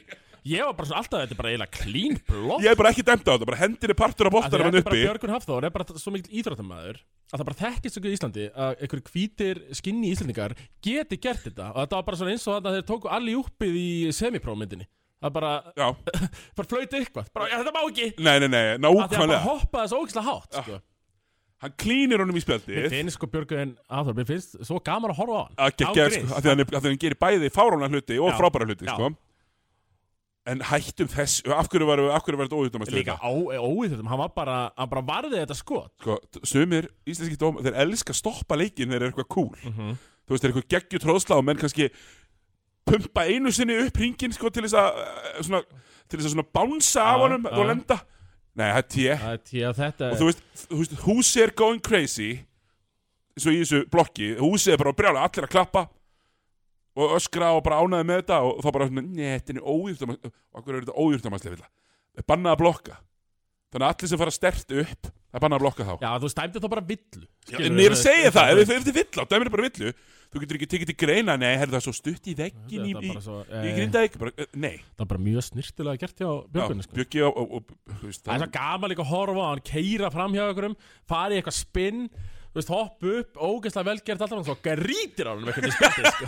Speaker 2: Ég var bara svona alltaf, þetta er bara eiginlega clean blokk.
Speaker 1: Ég hef bara ekki dæmt á þetta, bara hendinni partur af
Speaker 2: Af því
Speaker 1: boltanum hann
Speaker 2: þetta er bara
Speaker 1: hérna uppi
Speaker 2: Björgun Hafþór er bara svo mikill íþróttamæður að það bara þekkist okkur í Íslandi að einhverjir hvítir skinni Íslandingar geti gert þetta og þetta var bara svona eins og þarna þeir tóku allir uppið í semiprómyndinni það bara,
Speaker 1: Já,
Speaker 2: bara flöyti eitthvað bara, já, þetta má ekki
Speaker 1: nei, nei, nei,
Speaker 2: að því að bara
Speaker 1: nákvæmlega Ah,
Speaker 2: hoppaði þessu ógislega hátt sko.
Speaker 1: Hann klínir honum í
Speaker 2: Mér
Speaker 1: spjaldið
Speaker 2: finnst sko Björgun Hafþór, mér finnst svo gaman að horfa á hann
Speaker 1: Að geggja,
Speaker 2: Ágrís.
Speaker 1: sko, af því að hann, af því að hann gerir bæði fáránlega hluti og
Speaker 2: Já.
Speaker 1: frábæra hluti,
Speaker 2: Já.
Speaker 1: sko En hættum þess, af hverju var, af hverju var þetta óhjúttamast
Speaker 2: líka óíþróttum, hann var bara hann bara varði þetta skot
Speaker 1: Sko, t- sumir íslenski dóm, þeir elska að stoppa leikinn þegar er eitthvað cool
Speaker 2: Mhm.
Speaker 1: Þú veist, þeir eru eitthvað geggju tróðslá og menn kannski pumpa einu sinni upp hringin, sko, til þess að eh, svona, til þess að svona bánsa af
Speaker 2: Já,
Speaker 1: honum
Speaker 2: já.
Speaker 1: og lenda Nei, það er tjé
Speaker 2: því að þetta
Speaker 1: og þú veist, þú veist, húsi er going crazy svo í þessu blokki húsi er bara brjálega, allir að klappa og öskra og bara ánaði með þetta og þá bara svona, netinni ójúrtum og akkur er þetta ójúrtum að slefilla það er bannað að blokka þannig að allir sem fara stert upp það er bannað að blokka þá
Speaker 2: já, þú stæmdi þá bara villu
Speaker 1: Já, en ég er að segja það, ef þið- ef þið vill á, dæmir er bara villu þú getur ekki tekið til greina, nei, herðu það er svo stutt í veggin í,
Speaker 2: Þetta
Speaker 1: í,
Speaker 2: bara svo,
Speaker 1: í
Speaker 2: eh,
Speaker 1: grindaðik, bara, eh, nei
Speaker 2: það er bara mjög snirtilega gert hjá Björgunni sko.
Speaker 1: bjöggi og, og, og þú veist,
Speaker 2: það er svo gaman líka að horfa á hann keira fram hjá okkurum, fara í eitthvað spinn þú veist, hoppa upp, ógeðslega velgert alltaf hann svo grítir á hann með hvernig spinn sko.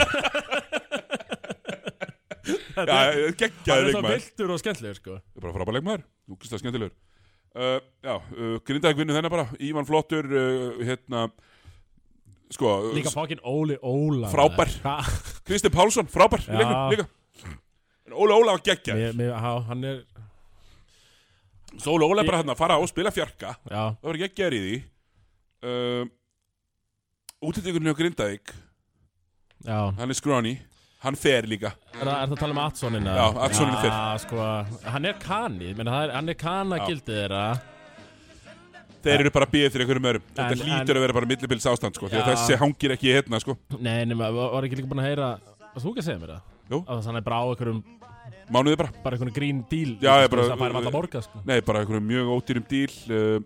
Speaker 1: já,
Speaker 2: hann
Speaker 1: geggjaði
Speaker 2: er svo
Speaker 1: leikmaður
Speaker 2: viltur og skemmtilegur sko.
Speaker 1: Það er bara frábæð leikmaður, úkislega skemmtilegur uh, Já, uh, Grindavík vinnur þennan bara Ívan Flottur, uh, hérna Sko, uh,
Speaker 2: líka fokkin Óli Óla
Speaker 1: Frábær.
Speaker 2: Ha,
Speaker 1: Kristinn Pálsson, frábær
Speaker 2: Já.
Speaker 1: leikur, líka. En Óli Óla var geggja
Speaker 2: mér- mér- já, hann er
Speaker 1: Svo Óli Óla er bara hérna að fara og spila fjarka
Speaker 2: já,
Speaker 1: Það var geggjaður í því uh, Útlendingurinn hjá Grindavík
Speaker 2: já.
Speaker 1: Hann er skróni, hann fer líka
Speaker 2: Er, það- er það að tala um Atsonina?
Speaker 1: Já, Atsoninn er fyrr.
Speaker 2: sko, hann er kani, menn, er, hann er kana
Speaker 1: Já.
Speaker 2: gildið þeirra
Speaker 1: Þeir eru bara að býða fyrir einhverjum örum Þetta
Speaker 2: En-
Speaker 1: hlýtur að vera bara millibils ástand sko, því að
Speaker 2: Já.
Speaker 1: þessi hangir ekki í hérna sko.
Speaker 2: Nei, nema, var var ekki líka búin að heyra Varst þú ekki að segja mér það?
Speaker 1: Jú.
Speaker 2: Að það hann er bara á einhverjum,
Speaker 1: Mánuði bara
Speaker 2: bara einhverjum grín díl
Speaker 1: Já, ég bara-
Speaker 2: Það bæri alltaf borga, sko
Speaker 1: Nei, bara einhverjum mjög ódýrum díl uh,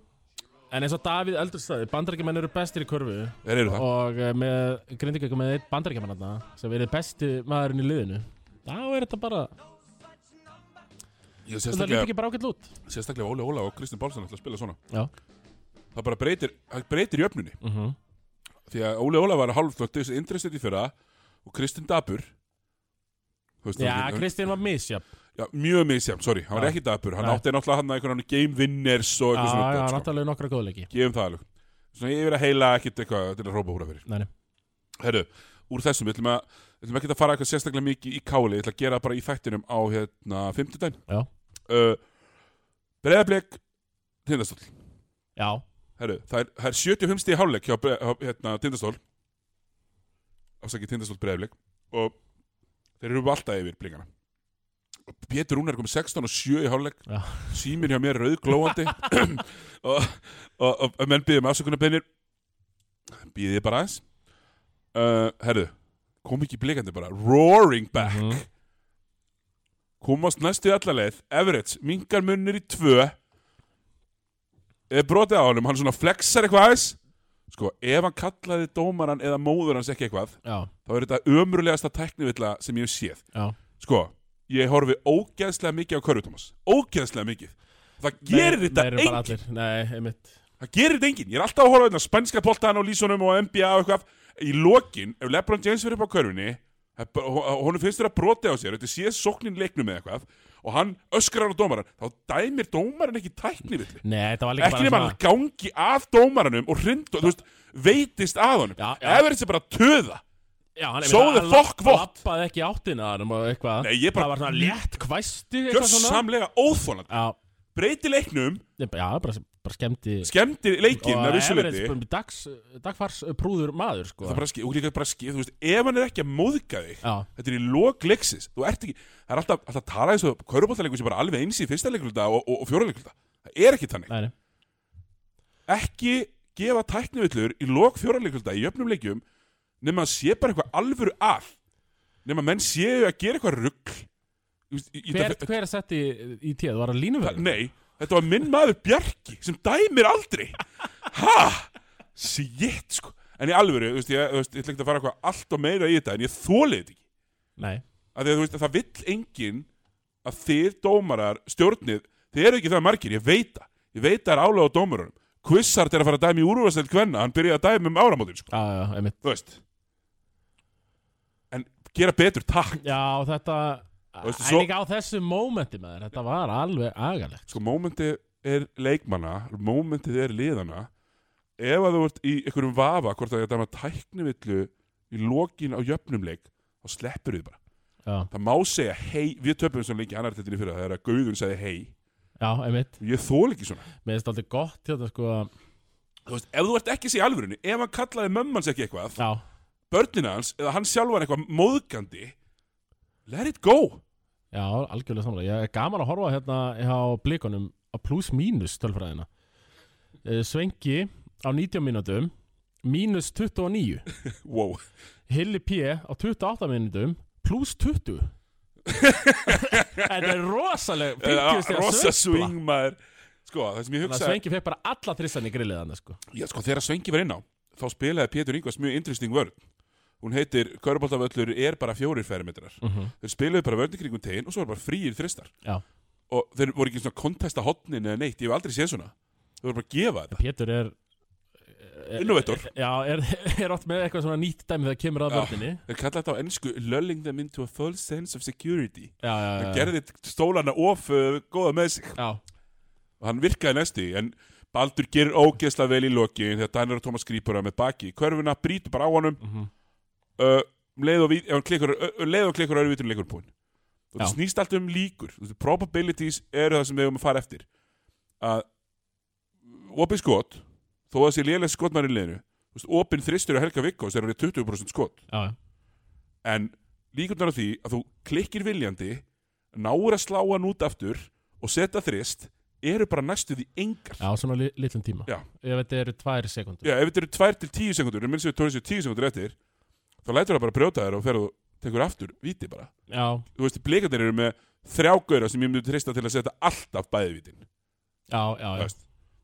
Speaker 2: En eins og Davíð Eldurstaði, bandarækjumenn eru bestir í körfu
Speaker 1: Þeir eru það
Speaker 2: Og eh, með grindingöku með einn bandarækjumenn þarna Sem verið besti maðurinn í liðinu Þá er þetta bara,
Speaker 1: Ég,
Speaker 2: það
Speaker 1: sérstaklega,
Speaker 2: líf ekki bara ákveld út
Speaker 1: sérstaklega Óli Óla og Kristinn Pálsson ætla að spila svona
Speaker 2: Já.
Speaker 1: það bara breytir, það breytir jöfnunni
Speaker 2: mm
Speaker 1: því að Óli Óla var hálflögt þessi interessant í fyrra og Kristinn Dabur Þú veist,
Speaker 2: Já,
Speaker 1: hann-
Speaker 2: Kristinn var misjafn
Speaker 1: já, mjög misjafn, sorry, hann var
Speaker 2: Já.
Speaker 1: ekki Dabur hann
Speaker 2: Nei.
Speaker 1: átti náttúrulega hann að einhvern veginn game winners og
Speaker 2: Já,
Speaker 1: eitthvað svona
Speaker 2: já,
Speaker 1: dót, sko.
Speaker 2: náttúrulega nokkra góðleiki
Speaker 1: gefum það alveg svona yfir að heila ekkit eitthvað til að hrópa húra fyrir
Speaker 2: Nei, nei.
Speaker 1: Herru, úr þessum, við ætlum, að, við ætlum ekki að fara eitthvað sérstaklega mikið í káli, ég ætla að gera það bara í þættinum á hérna 50 dæn
Speaker 2: Já.
Speaker 1: uh, Breiðablik Tindastól
Speaker 2: Já,
Speaker 1: Herru, það er, það er 75 stíð hálfleik hjá, Bre- hjá hérna, Tindastól Afsakið Tindastól breyðleik Og þeir eru alltaf yfir blingana Pétur Rúnar er komið 16 og 7 í hálfleik
Speaker 2: Já.
Speaker 1: síminn hjá mér er rauðglóandi og, og, og, og menn um býðum afsökunarbeinir býðið bara aðeins uh, herru, kom ekki blikandi bara roaring back
Speaker 2: Mhm.
Speaker 1: komast næstu í alla leið Everett, minkar munnir í tvö eða brotið á honum hann svona flexar eitthvað aðeins sko, ef hann kallaði dómaran eða móður hans ekki eitthvað,
Speaker 2: Já,
Speaker 1: þá er þetta ömrulegasta teknivilla sem ég hef séð
Speaker 2: já
Speaker 1: sko, ég horfi ógeðslega mikið á körfu, Thomas, ógeðslega mikið það gerir
Speaker 2: Meir-
Speaker 1: þetta
Speaker 2: meira
Speaker 1: enginn
Speaker 2: bara allir. Nei, einmitt
Speaker 1: það gerir þetta enginn, ég er alltaf að horfa hérna á spænska boltan og lísunum og NBA og eitthvað í lokin, ef LeBron James verður upp á körfunni það er bara- hon- honum finnst þér að broti á sér þetta sé sóknin leiknum eða eitthvað og hann öskrar á dómaran, þá dæmir dómaran ekki tækni við
Speaker 2: Nei, þetta var líka
Speaker 1: ekki nema
Speaker 2: bara
Speaker 1: hann gangi að dómaranum og hrind og þú veist, veitist að honum
Speaker 2: Já, já.
Speaker 1: Everett er bara að töða
Speaker 2: Já, hann
Speaker 1: So the fuck what?
Speaker 2: Lappaði ekki í áttina þarum og eitthvað
Speaker 1: Nei, ég bara-
Speaker 2: Það var svona létt kvæsti eitthvað svona
Speaker 1: gjörsamlega óþóland,
Speaker 2: Já,
Speaker 1: breyti leiknum
Speaker 2: ég- já bara, bara skemmti
Speaker 1: skemmtir leikinn að
Speaker 2: Everett um
Speaker 1: vissuleiti
Speaker 2: bara dags, dagfars prúður maður sko
Speaker 1: það er bara skil, og líka bara skil, þú veist, ef hann er ekki að móðga þig
Speaker 2: Já,
Speaker 1: Þetta er í lok leiksis Þú ert ekki Það er alltaf, alltaf að tala eins og Köruboltaleikur sem bara alveg eins í fyrsta leikluta og, og, og fjóra leikluta Það er ekki þannig
Speaker 2: nei, nei
Speaker 1: Ekki gefa tæknivillur í lok fjóra leikluta í jöfnum leikjum nema að sé bara eitthvað alvöru að nema að menn séu að gera eitthvað rugg
Speaker 2: Hver, hver er sett í, í tíð? Var það línuverð?
Speaker 1: Nei, þetta var minn maður Bjarki sem dæmir aldrei Ha? Sjétt sko En í alvöru, þú veist, ég, þú veist, ég ætla ekki að fara eitthvað allt og meira í þetta en ég þólið þetta ekki
Speaker 2: Nei
Speaker 1: að því að þú veist að það vill enginn að þið dómarar stjórnið þið eru ekki það margir, ég veit það ég veit það er álega á dómarunum Kvissart er að fara að dæmi í úrúðastelt kvenna hann byrjaði að dæmi um áramótin sko.
Speaker 2: Já, já, einmitt
Speaker 1: þú veist en gera betur, takk
Speaker 2: Já, og þetta
Speaker 1: veistu,
Speaker 2: En
Speaker 1: svo-
Speaker 2: líka á þessu mómenti maður Þetta var alveg agalegt
Speaker 1: sko mómentið er leikmanna mómentið er liðana ef að þú ert í einhverjum vafa hvort að þetta maður tæknivillu í lokin á jöfnum leik þá sleppur við bara
Speaker 2: Já,
Speaker 1: það má segja hei, við töpum svo lengi annar tettinni fyrir það er að Gauðun segði hei
Speaker 2: já, einmitt
Speaker 1: ég þól ekki svona
Speaker 2: Mér finnst aldrei gott hérna sko
Speaker 1: þú veist, ef þú ert ekki sér í alvörunni, ef hann kallaði mömmans ekki eitthvað,
Speaker 2: Já,
Speaker 1: börnina hans eða hann sjálfan eitthvað móðgandi let it go
Speaker 2: já, algjörlega samlega Ég er gaman að horfa hérna hjá blikunum á plus mínus tölfræðina Eh, Svengi á 90 mínútum mínus 29
Speaker 1: wow,
Speaker 2: Hilli P á 28 mínútum plus 20 Þetta er rosaleg
Speaker 1: Eða,
Speaker 2: 50 stiga
Speaker 1: rosa
Speaker 2: sveifla.
Speaker 1: swing maður sko, það sem ég
Speaker 2: Þannig að
Speaker 1: hugsa
Speaker 2: Svengi fekk bara alla trissan í grillið hann sko.
Speaker 1: já, sko, þegar Svengi var inn á, þá spilaði Pétur Ingvars mjög interesting vörn hún heitir, Körbóltavöllur er bara fjórir fermetrar þeir spilaði bara vörn í kringum tegin og svo var bara fríir þristar
Speaker 2: Já.
Speaker 1: og þeir voru ekki svona að kontesta hotnin eða neitt, ég hef aldrei séð svona þeir voru bara að gefa þetta
Speaker 2: Pétur er er-
Speaker 1: Innovator.
Speaker 2: Já, er, er oft með eitthvað svona nýtt dæmi þegar kemur að
Speaker 1: Já.
Speaker 2: vörninni
Speaker 1: þeir kalla þetta á ennsku lulling them into a full sense of security
Speaker 2: Já, já, já,
Speaker 1: Það
Speaker 2: já.
Speaker 1: gerði stólana of uh, góða með sig
Speaker 2: já
Speaker 1: Hann virkaði næstu í, en Baldur gerir ógeðslega vel í lokin þegar Danir og Thomas grípur hann með baki í körfuna, brýtur bara á honum
Speaker 2: mm
Speaker 1: uh, um leið og, við- ef hann klikkur, ö- ö- um leið og klikkur öðru vitur leikur pún og það
Speaker 2: Já.
Speaker 1: snýst alltaf um líkur Þú veist, probabilities eru það sem við höfum að fara eftir að opið skot þó að sé lélega skotmann í leiðinu þú veist, opin þristur og Helga Vikkos er alveg 20% skot
Speaker 2: já, já.
Speaker 1: en líkundar á því að þú klikkir viljandi náur að slá hann út aftur og setja þrist eru bara næstu því engar
Speaker 2: já, svona li, litlum tíma
Speaker 1: Já.
Speaker 2: Ég veit þetta eru tvær sekundur
Speaker 1: Já, ef þetta eru tvær til tíu sekundur en minnst við tónum sér tíu sekundur eftir þá lætur það bara brjóta þér og ferðu tekur aftur víti bara
Speaker 2: Já,
Speaker 1: þú veist, blikandir eru með þrjá gauðra sem ég myndi trista til að setja alltaf bæði vítin
Speaker 2: já,
Speaker 1: Þú
Speaker 2: já, já.
Speaker 1: veist,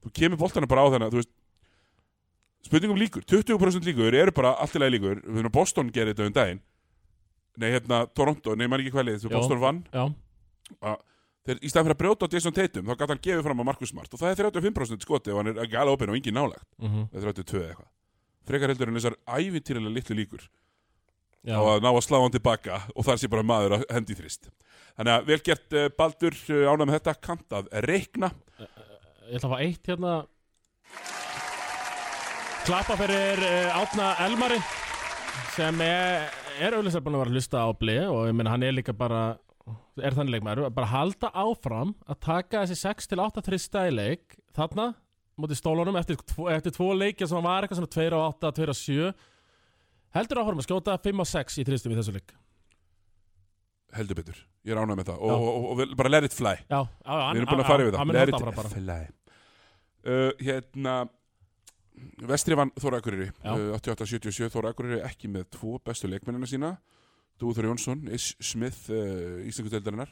Speaker 1: þú kemur boltana bara á þannig að, þú veist spurningum líkur, 20% líkur eru bara alltilega líkur, við erum Boston gerði þetta um daginn nei, hérna, Toronto, nei, maður ekki hvað leið þú
Speaker 2: Já.
Speaker 1: Boston vann
Speaker 2: já.
Speaker 1: þeir, í staðan fyrir að brjóta á Jason Tatum þá gæti hann gefið fram á Marcus Smart og það er 35% skoti og hann er ekki alveg opinn og engin nálagt
Speaker 2: Mm
Speaker 1: það er 32 eða eitthvað frekar heldur en þessar ævintýrilega litlu líkur
Speaker 2: já.
Speaker 1: á að ná að slá hann tilbaka og þar sé bara maður að hendi í þrist þannig að vel gert uh, Baldur uh, ánægð með þetta kant að reikna
Speaker 2: Ég ætla að fá eitt hérna Klappa fyrir uh, Átna Elmari sem er, er auðvitað búin að vera að hlusta á blei og ég meina hann er líka bara er þannig leikmaður, bara halda áfram að taka þessi 6 til 8 þrista í leik þarna, mútið stólunum eftir, tvo- eftir tvo leikja sem var eitthvað svona 2 og 8, 2 og 7 heldur áfram að skjóta 5 og 6 í þristum í þessu leik
Speaker 1: heldur betur Ég er ánægð með það
Speaker 2: Já.
Speaker 1: og, og, og, og við- bara let it fly
Speaker 2: Já, já, já
Speaker 1: Við erum búin að fara yfir það
Speaker 2: Hann mun halda bara bara
Speaker 1: fly uh, Hérna Vestri vann Þóra Akureyri
Speaker 2: Já.
Speaker 1: uh, 88-77 Þóra Akureyri ekki með tvo bestu leikmennina sína Dúður Jónsson, Ish Smith uh, Íslandsdeildarinnar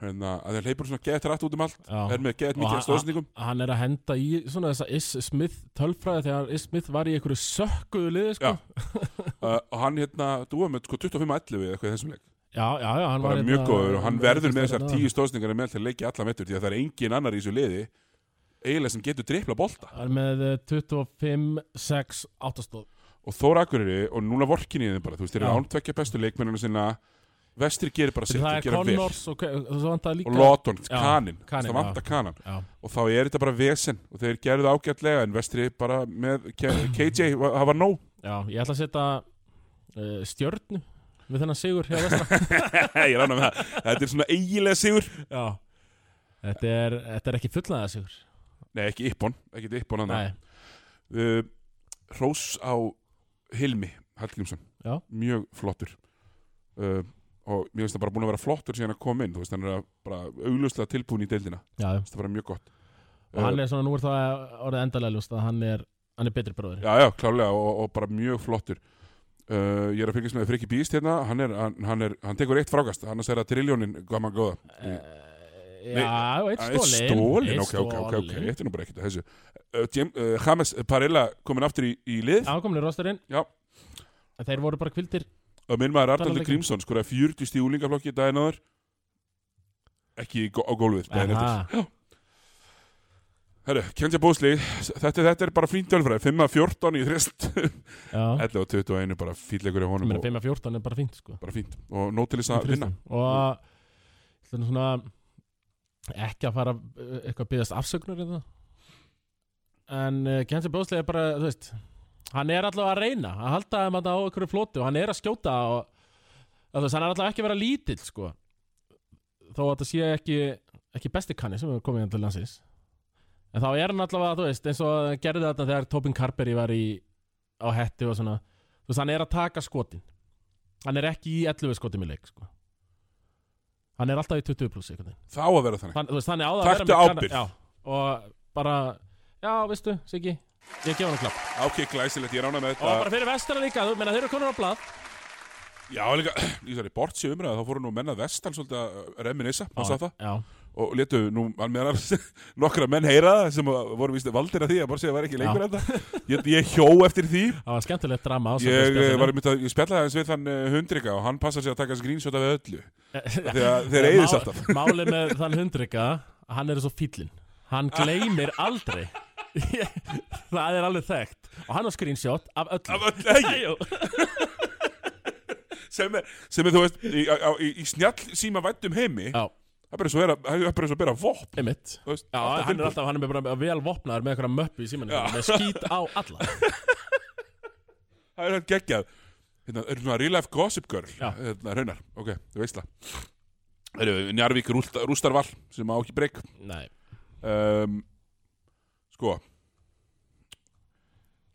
Speaker 1: Hérna, að þeir hleypur svona geðt rætt út um allt
Speaker 2: Já.
Speaker 1: er með geðt mikið
Speaker 2: Og
Speaker 1: af stóðsendingum
Speaker 2: hann er að henda í svona þessa Is Smith tölfræði þegar Is Smith var í einhverju sökkuðu liði sko.
Speaker 1: Já. uh, og hann hérna, dúa með sko 25-11 eða eitthvað í þessum leik
Speaker 2: já, já, já hann
Speaker 1: bara
Speaker 2: var
Speaker 1: mjög
Speaker 2: hérna-
Speaker 1: góður og hann verður með þessar
Speaker 2: hérna.
Speaker 1: tíu stóðsendingar með til að leikja allan vettur því að það er engin annar í þessu liði eiginlega sem getur dripla bolta
Speaker 2: Hann er með eh, 25, 6, 8 stóð
Speaker 1: og Þóra Akureyri og núna vorkin í þeim bara þú veist, þeir eru
Speaker 2: Já.
Speaker 1: ántvekja bestu leikmennina sinna vestri gerir bara sitt
Speaker 2: Það
Speaker 1: og
Speaker 2: er
Speaker 1: gera vel
Speaker 2: Connors og hve- og svo vantar
Speaker 1: og
Speaker 2: líka
Speaker 1: Lotton,
Speaker 2: Já,
Speaker 1: kanin,
Speaker 2: Kanin,
Speaker 1: það vantar kanan
Speaker 2: Já,
Speaker 1: og þá er þetta bara vesen og þeir gerðu ágætlega en vestri bara með K- KJ, var- það var nóg
Speaker 2: já, ég ætla að setja uh, stjörnu við þennan sigur hjá vestra
Speaker 1: ég rána með það, þetta er svona eiginlega sigur
Speaker 2: Já Þetta er, þetta er ekki fullnaða sigur
Speaker 1: nei, ekki yppon, ekki yppon hann
Speaker 2: Nei,
Speaker 1: uh, Rós á Hilmi Hallgrímsson
Speaker 2: Já.
Speaker 1: mjög flottur uh, og mér finnst það bara búin að vera flottur síðan að koma inn, þú veist, hann er að bara augljóslega tilbúin í deildina, Mér
Speaker 2: já,
Speaker 1: finnst það bara mjög gott
Speaker 2: og
Speaker 1: Eh.
Speaker 2: hann er svona, nú er það orðið endalega ljúst að hann er, hann er betri bróður
Speaker 1: Já, já, klálega og, og bara mjög flottur uh, Ég er að fylgjast með Frikki Býst hérna hann, er, hann, hann, er, hann tekur eitt frákast annars er það triljónin gaman góða
Speaker 2: Eh, Já, og eitt
Speaker 1: Ah,
Speaker 2: stólin
Speaker 1: Stólin, ok, ok, ok, ok, þetta er nú bara ekkert að þessu uh, Jim, uh, James Parilla komin aftur í, í lið
Speaker 2: Ákomni rosturinn
Speaker 1: Já.
Speaker 2: Þeir voru bara kvildir
Speaker 1: og minn maður Arnaldur
Speaker 2: Talanleikir.
Speaker 1: Grímsson skoraði 40 stíð úlingaflokki daginn áður ekki í gó- á gólfið daginn eftir
Speaker 2: Aha,
Speaker 1: Herru, Kenja Bósli, þetta, þetta er bara fínt tölfræði 5 að 14 í þrist 11
Speaker 2: já
Speaker 1: og 21 bara fýtleikur í honum
Speaker 2: Mér er
Speaker 1: og
Speaker 2: 5 að 14 er bara fínt sko
Speaker 1: bara fínt og nót til þess
Speaker 2: Í
Speaker 1: að vinna
Speaker 2: fristum. Og þetta er svona ekki að fara uh, eitthvað að byggðast afsöknur en það En uh, Kensi Bjóðslega er bara, þú veist Hann er allavega að reyna að halda þeim að á einhverju floti og hann er að skjóta og að þú veist, hann er allavega ekki að vera lítill sko þó að það sé ekki ekki besti kanni sem hefur komið hérna til landsins en þá er hann allavega, þú veist, eins og gerði þetta þegar Tobin Carberry var í á hetti og svona, þú veist, hann er að taka skotin hann er ekki í 11 skotin í leik, sko hann er alltaf í 20 pluss einhvern veginn
Speaker 1: þá að vera þannig
Speaker 2: Þann, þú veist, þannig á það
Speaker 1: Taktu
Speaker 2: að vera
Speaker 1: ábyrgð.
Speaker 2: kanna, já, og bara, já, veistu, Siggi ég gef hann klapp
Speaker 1: ok, glæsilegt, ég rána með
Speaker 2: og
Speaker 1: þetta
Speaker 2: bara fyrir vestara líka, þú meina þeir eru konur á blað
Speaker 1: já, líka, í þessari bortsi umræða þá fóru nú mennað vestan svolítið að reminissa, maður sá það
Speaker 2: já,
Speaker 1: og letu nú almeðar nokkra menn heyra það sem að voru víst valdir að því að Bórsið var ekki lengur
Speaker 2: Já.
Speaker 1: enda ég, ég hjó eftir því
Speaker 2: það var skemmtilegt drama á
Speaker 1: Ég, eh,
Speaker 2: samfélagsspjallinu.
Speaker 1: var, einmitt að- ég spjallaði aðeins við þann eh, hundrika og hann passar sér að taka screenshot af öllu
Speaker 2: Já,
Speaker 1: þegar þeir
Speaker 2: Já,
Speaker 1: eigðis
Speaker 2: má-
Speaker 1: alltaf
Speaker 2: Málið með þann hundrika Hann er svo fíllinn Hann gleymir aldrei Það er alveg þekkt Og hann á screenshot af öllu
Speaker 1: Af öllu, ekki?
Speaker 2: Æjú.
Speaker 1: sem er, sem er þú veist í, á, á- í, í snjall síma vættum heimi
Speaker 2: Já,
Speaker 1: það er bara eins og vera- það er bara eins og bera vopn
Speaker 2: einmitt
Speaker 1: þú veist,
Speaker 2: Já,
Speaker 1: alltaf
Speaker 2: hann er
Speaker 1: tilbúin.
Speaker 2: alltaf, hann er bara vel vopnaður með einhverja möppu í símanum með skít á alla
Speaker 1: það er hann geggjað hérna, er svona real life gossip girl
Speaker 2: Já.
Speaker 1: hérna, raunar, ok, þú veist það Eru, Njarvík rústa, rústarval sem á ekki breyk
Speaker 2: Nei,
Speaker 1: um, sko,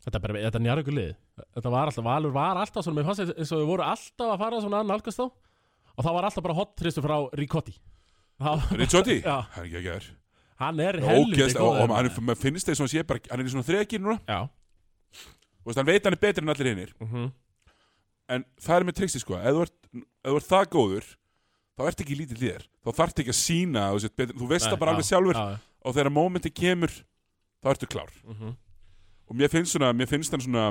Speaker 2: þetta er bara, þetta er njárvíkur lið Þetta var alltaf, Valur var alltaf svona Mér fannst eins og þau voru alltaf að fara svona nálgast þá Og það var alltaf bara hot þristu frá Ricotti Það-
Speaker 1: Richotti
Speaker 2: Já.
Speaker 1: hann er geggjaður
Speaker 2: Hann er helviti
Speaker 1: Ógeðst- og, og hann er- maður finnst þess að hann sé bara hann er í svona þrekir núna
Speaker 2: Já,
Speaker 1: Þú veist, hann veit hann er betri en allir hinnir
Speaker 2: Mhm.
Speaker 1: en það er með triksi sko ef þú ert, ef þú ert það góður þá ert ekki lítið líðir þá þarft ekki að sína þú, sért betri, þú veist það
Speaker 2: Nei,
Speaker 1: bara
Speaker 2: já,
Speaker 1: alveg sjálfur
Speaker 2: já,
Speaker 1: og þegar mómenti kemur þá ertu klár
Speaker 2: mhm.
Speaker 1: og mér finnst svona mér finnst hann svona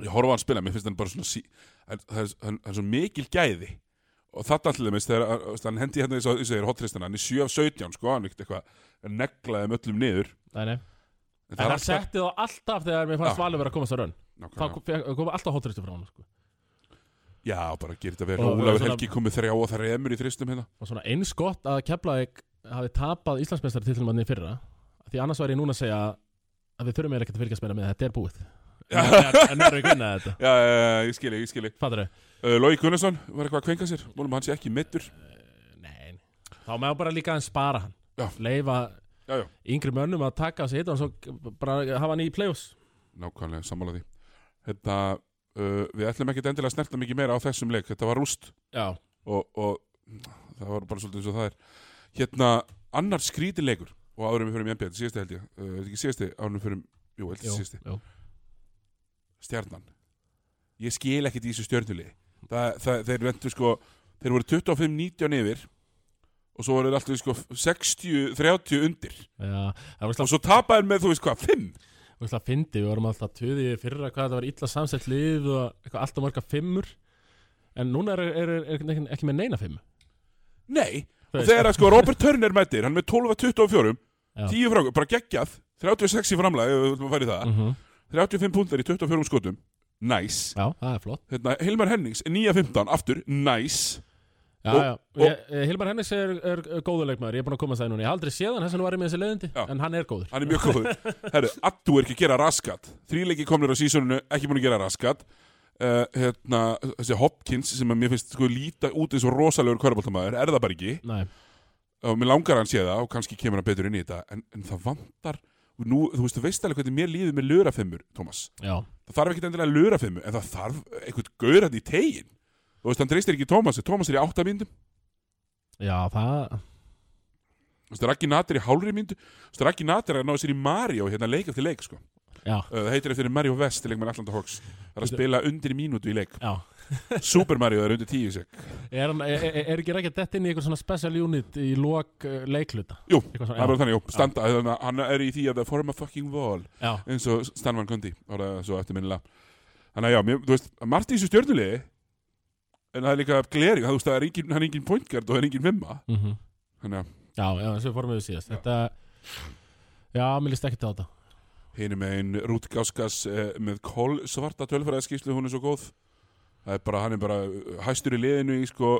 Speaker 1: ég horfa á hann spila mér finnst hann bara svona sí, hann, það, er, hann, hann er svo mikil gæði og þetta alltaf með þegar að- þú veist, hann hendi hérna eins og þess að ég er hotristana hann er 7 af 17 sko hann er ekkert eitthvað hann neglaði um öllum niður
Speaker 2: Nei, nei
Speaker 1: en
Speaker 2: En hann setti þá alltaf þegar mér fannst
Speaker 1: Já.
Speaker 2: Valur vera að komast á raun Þá
Speaker 1: nákvæmlega.
Speaker 2: kom- kom alltaf hotristur frá hann sko.
Speaker 1: já bara gerir þetta verið
Speaker 2: Og- og
Speaker 1: Ólafur
Speaker 2: svona-
Speaker 1: Helgi komið þrjá og þar emur í þristum hérna
Speaker 2: Og svona eins gott að Keflavík hafi tapað Íslandsmeistar í fyrra Því annars væri ég núna að segja að við þurfum eiginlega ekkert að fylgjast meira með þetta er búið En- En verður við vinna þetta
Speaker 1: já, já, já, ég skil ég, ég skil ég
Speaker 2: Fattur þau?
Speaker 1: uh, Lói Gunnarsson var eitthvað að kvenka sér Mólum hann sé ekki mittur
Speaker 2: Nei Þá má bara líka að spara hann
Speaker 1: Já.
Speaker 2: Leifa
Speaker 1: Já, já,
Speaker 2: yngri mönnum að taka á sig hitt og svo bara hafa hann í play-offs
Speaker 1: nákvæmlega sammála því Hérna, Þetta, uh, við ætlum ekkit endilega að snerta mikið meira á þessum leik Þetta var rúst
Speaker 2: Já
Speaker 1: og, og það var bara svolítið eins og það er hérna, annar skrítilegur og árum við fyrir um MBL, síðasti held ég uh, er þetta ekki síðasti, árum við fyrir um, jú, held ég síðasti
Speaker 2: jú.
Speaker 1: stjarnan ég skil ekkit í þessu stjörnulegi það, það, þeir ventu sko þeir voru 25-19 yfir og svo voru þeir alltaf sko 60-30 undir
Speaker 2: Já, það var
Speaker 1: og
Speaker 2: slag,
Speaker 1: svo tapaði með þú veist hvað, 5
Speaker 2: var slag fyndi, við vorum alltaf töði fyrra hvað þetta var illa samsett lið og eitthvað alltaf marga fimmur en núna er, er, er, er ekki, ekki með neina fimm
Speaker 1: nei,
Speaker 2: Þú
Speaker 1: og
Speaker 2: veist,
Speaker 1: þegar að sko Robert Turner mættir, hann er með 12-24
Speaker 2: Já.
Speaker 1: 10 frá, bara geggjað 36 í framlega, ef við viljum að fara í það
Speaker 2: mhm.
Speaker 1: 35 púntar í 24 skotum nice.
Speaker 2: Já, það er flott
Speaker 1: hérna, Hilmar Hennings 9-15, aftur, nice.
Speaker 2: já,
Speaker 1: Og-
Speaker 2: já.
Speaker 1: og-
Speaker 2: Ég, eh, Hilmar Hennis er, er góður leikmaður, ég er búin að koma að það núna Ég haf aldrei séð hann, þess að hann var með þessi leiðindi
Speaker 1: Já.
Speaker 2: En hann er góður
Speaker 1: hann er mjög góður herru, Addu er ekki að gera raskat þríleiki komnir á sísoninu, ekki búin að gera raskat uh, hérna, þessi Hopkins sem að mér finnst sko líta út eins og rosalegur kvöraboltamæður, er það bara ekki
Speaker 2: Nei,
Speaker 1: og mér langar að hann sé það og kannski kemur hann betur inn í þetta en, en það vantar og nú, þú veist, þú veist alveg hvernig mér líður með lurafimmur Thomas,
Speaker 2: já,
Speaker 1: það þarf ekkit endilega lurafimmur en það þarf einhvern gaur hann í tegin þú veist, hann treystir ekki Thomas, Thomas er í áttamindum
Speaker 2: já, það
Speaker 1: þú veist, Raggi Nader í hálfri myndu þú veist, Raggi Nader er að ná sér í Mario hérna leik eftir leik, sko
Speaker 2: Já,
Speaker 1: Uh, Það heitir eftir Mario West, leikmann Atlanta Hawks Það er að spila undir mínútu í leik
Speaker 2: já
Speaker 1: Super Mario er undir tíu sek
Speaker 2: Er, hann, er, er- er ekki rækja dett inn í eitthvað svona special unit í lok eh, leikluta?
Speaker 1: Jú,
Speaker 2: Eitthvað
Speaker 1: það er bara
Speaker 2: svona,
Speaker 1: þannig, jú, standa þannig að Hann er í því að það forma fucking wall
Speaker 2: já, já,
Speaker 1: eins og Stan Van Gundy orðaði það svo eftirminnilega Þannig að já, mér, þú veist, margt í þessu stjörnulegi en það er líka gleri þú veist, það er engin, hann er engin pointgard og það er engin vimma
Speaker 2: mm
Speaker 1: þannig að
Speaker 2: já, já, eins og við fórum við síðast Þetta, já, mér líst ekki á þetta
Speaker 1: hinum einn Rút Gáskas eh, með kól svarta tölfræðaskíslu hún er svo góð það er bara, hann er bara eh, hæstur í liðinu í sko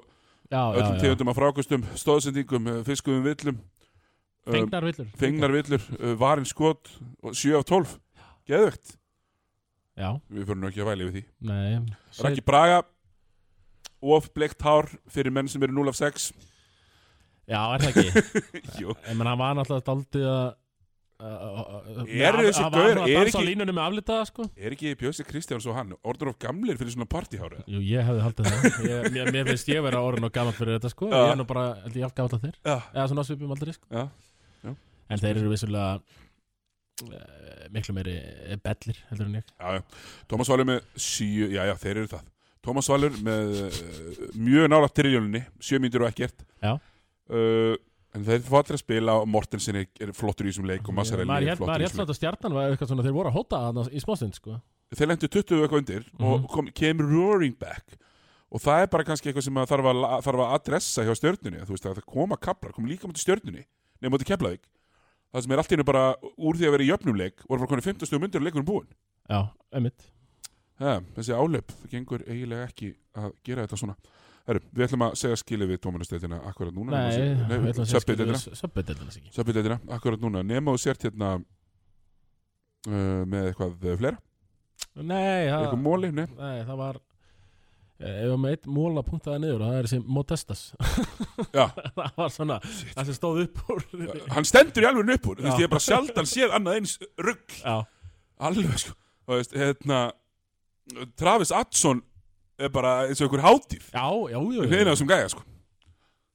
Speaker 2: Já, já,
Speaker 1: öllum
Speaker 2: já
Speaker 1: tegundum af frákostum, stóðsendingum, eh, fiskuðum villum, eh,
Speaker 2: Fengnar villur
Speaker 1: fengnar villur, eh, varin skot, og 7 af 12, geðvögt.
Speaker 2: Já,
Speaker 1: Við fyrir nú ekki að væli við því.
Speaker 2: nei Shit.
Speaker 1: Raki Braga, of bleikt hár fyrir menn sem eru 0 af 6.
Speaker 2: Já, er það ekki
Speaker 1: Jú.
Speaker 2: Ég menn, hann var náttúrulega daldið að að- að- að-
Speaker 1: Eru
Speaker 2: að-
Speaker 1: þessi
Speaker 2: að-
Speaker 1: gaur-
Speaker 2: að- að
Speaker 1: er
Speaker 2: dansa á
Speaker 1: ekki-
Speaker 2: línunum með aflitaða, sko
Speaker 1: Er ekki Bjössi Kristjáns og hann orður of gamlir fyrir svona partíhára?
Speaker 2: Jú, ég hefði haldið það ég, mér, mér finnst ég vera orðin og gaman fyrir þetta, sko
Speaker 1: Já.
Speaker 2: Ég er nú bara, held ég, allt gaman að þeir
Speaker 1: Já.
Speaker 2: Eða svona á svipum aldrei, sko
Speaker 1: Já.
Speaker 2: En þeir eru vissulega uh, miklu meiri eh, bellir heldur en ég
Speaker 1: Já, já. Tómas Valur með 7, já, já, þeir eru það. Tómas Valur með uh, mjög nála triljóninni, 7 mínútur og ekkert.
Speaker 2: Já.
Speaker 1: Uh, en þeir fá allir að spila og Mortensen er, er flottur í þessum leik og Sko, Massarelli
Speaker 2: Maður
Speaker 1: er
Speaker 2: hélt- maður
Speaker 1: flottur í
Speaker 2: hélt
Speaker 1: þessum leik.
Speaker 2: samt að stjarnan var eitthvað svona þeir voru að hóta þarna í smástund sko
Speaker 1: Þeir lendu 20 og eitthvað undir
Speaker 2: Mhm.
Speaker 1: og kom, kemur roaring back og það er bara kannski eitthvað sem að þarf að, la- þarf að adressa hjá stjörnunni, þú veist að það koma kaplar, kom líka mútið stjörnunni, nefnum mútið Keflavík. Það sem er allt í hennu bara úr því að vera í jöfnum leik og er bara konið 15 stugum undir og leikurinn búinn.
Speaker 2: Já, einmitt
Speaker 1: Ha, þessi álöp, það gengur eiginlega ekki að gera þetta svona Heru, Við ætlum að segja skilið við tómanasteitina akkurat núna
Speaker 2: Nei, við ætlum að segja
Speaker 1: söpbeitina
Speaker 2: skilur- Söpbeitina sig ekki
Speaker 1: Söpbeitina, akkurat núna Nefn þú sért hérna uh, með eitthvað eh, fleira
Speaker 2: Nei, það
Speaker 1: Eitthvað móli, nei
Speaker 2: Nei, það var eh, Ef við með eitt móla punktaði niður og það er þessi Modestas
Speaker 1: Já,
Speaker 2: Það var svona Það sem stóð upp úr
Speaker 1: hann stendur í alveg upp úr Þú veist,
Speaker 2: Já.
Speaker 1: ég hef bara sjaldan séð annað eins rugg
Speaker 2: Já,
Speaker 1: Alveg sko Þú veist, hérna Travis Adson er bara eins og einhver hátíð
Speaker 2: já, já, já,
Speaker 1: Við erum
Speaker 2: já.
Speaker 1: þessum gæja sko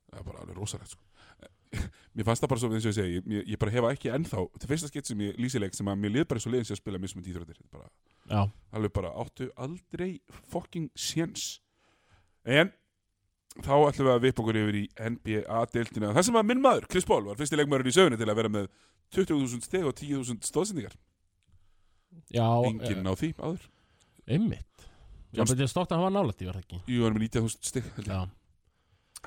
Speaker 1: Það er bara alveg rosalegt sko Mér fannst það bara svo eins og ég segi Ég, ég bara hefa ekki ennþá Til fyrsta skitt sem ég lýsileg sem að mér lið bara svo liðin sem að spila mismund íþróttir bara,
Speaker 2: já.
Speaker 1: Alveg bara áttu aldrei fucking séns En Þá ætlum við að vipa okkur yfir í NBA-deildina Það sem að minn maður, Chris Paul, var fyrsti leikmaðurinn í sögunni til að vera með 20.000 steg og 10.000 stóðsendingar
Speaker 2: já
Speaker 1: Enginn á því áður
Speaker 2: eh, Einmitt Já,
Speaker 1: John-
Speaker 2: betur ég stótt að hann var nálætt, ég var það ekki
Speaker 1: Jú, hann er með 19.000 steg held
Speaker 2: Já
Speaker 1: ég.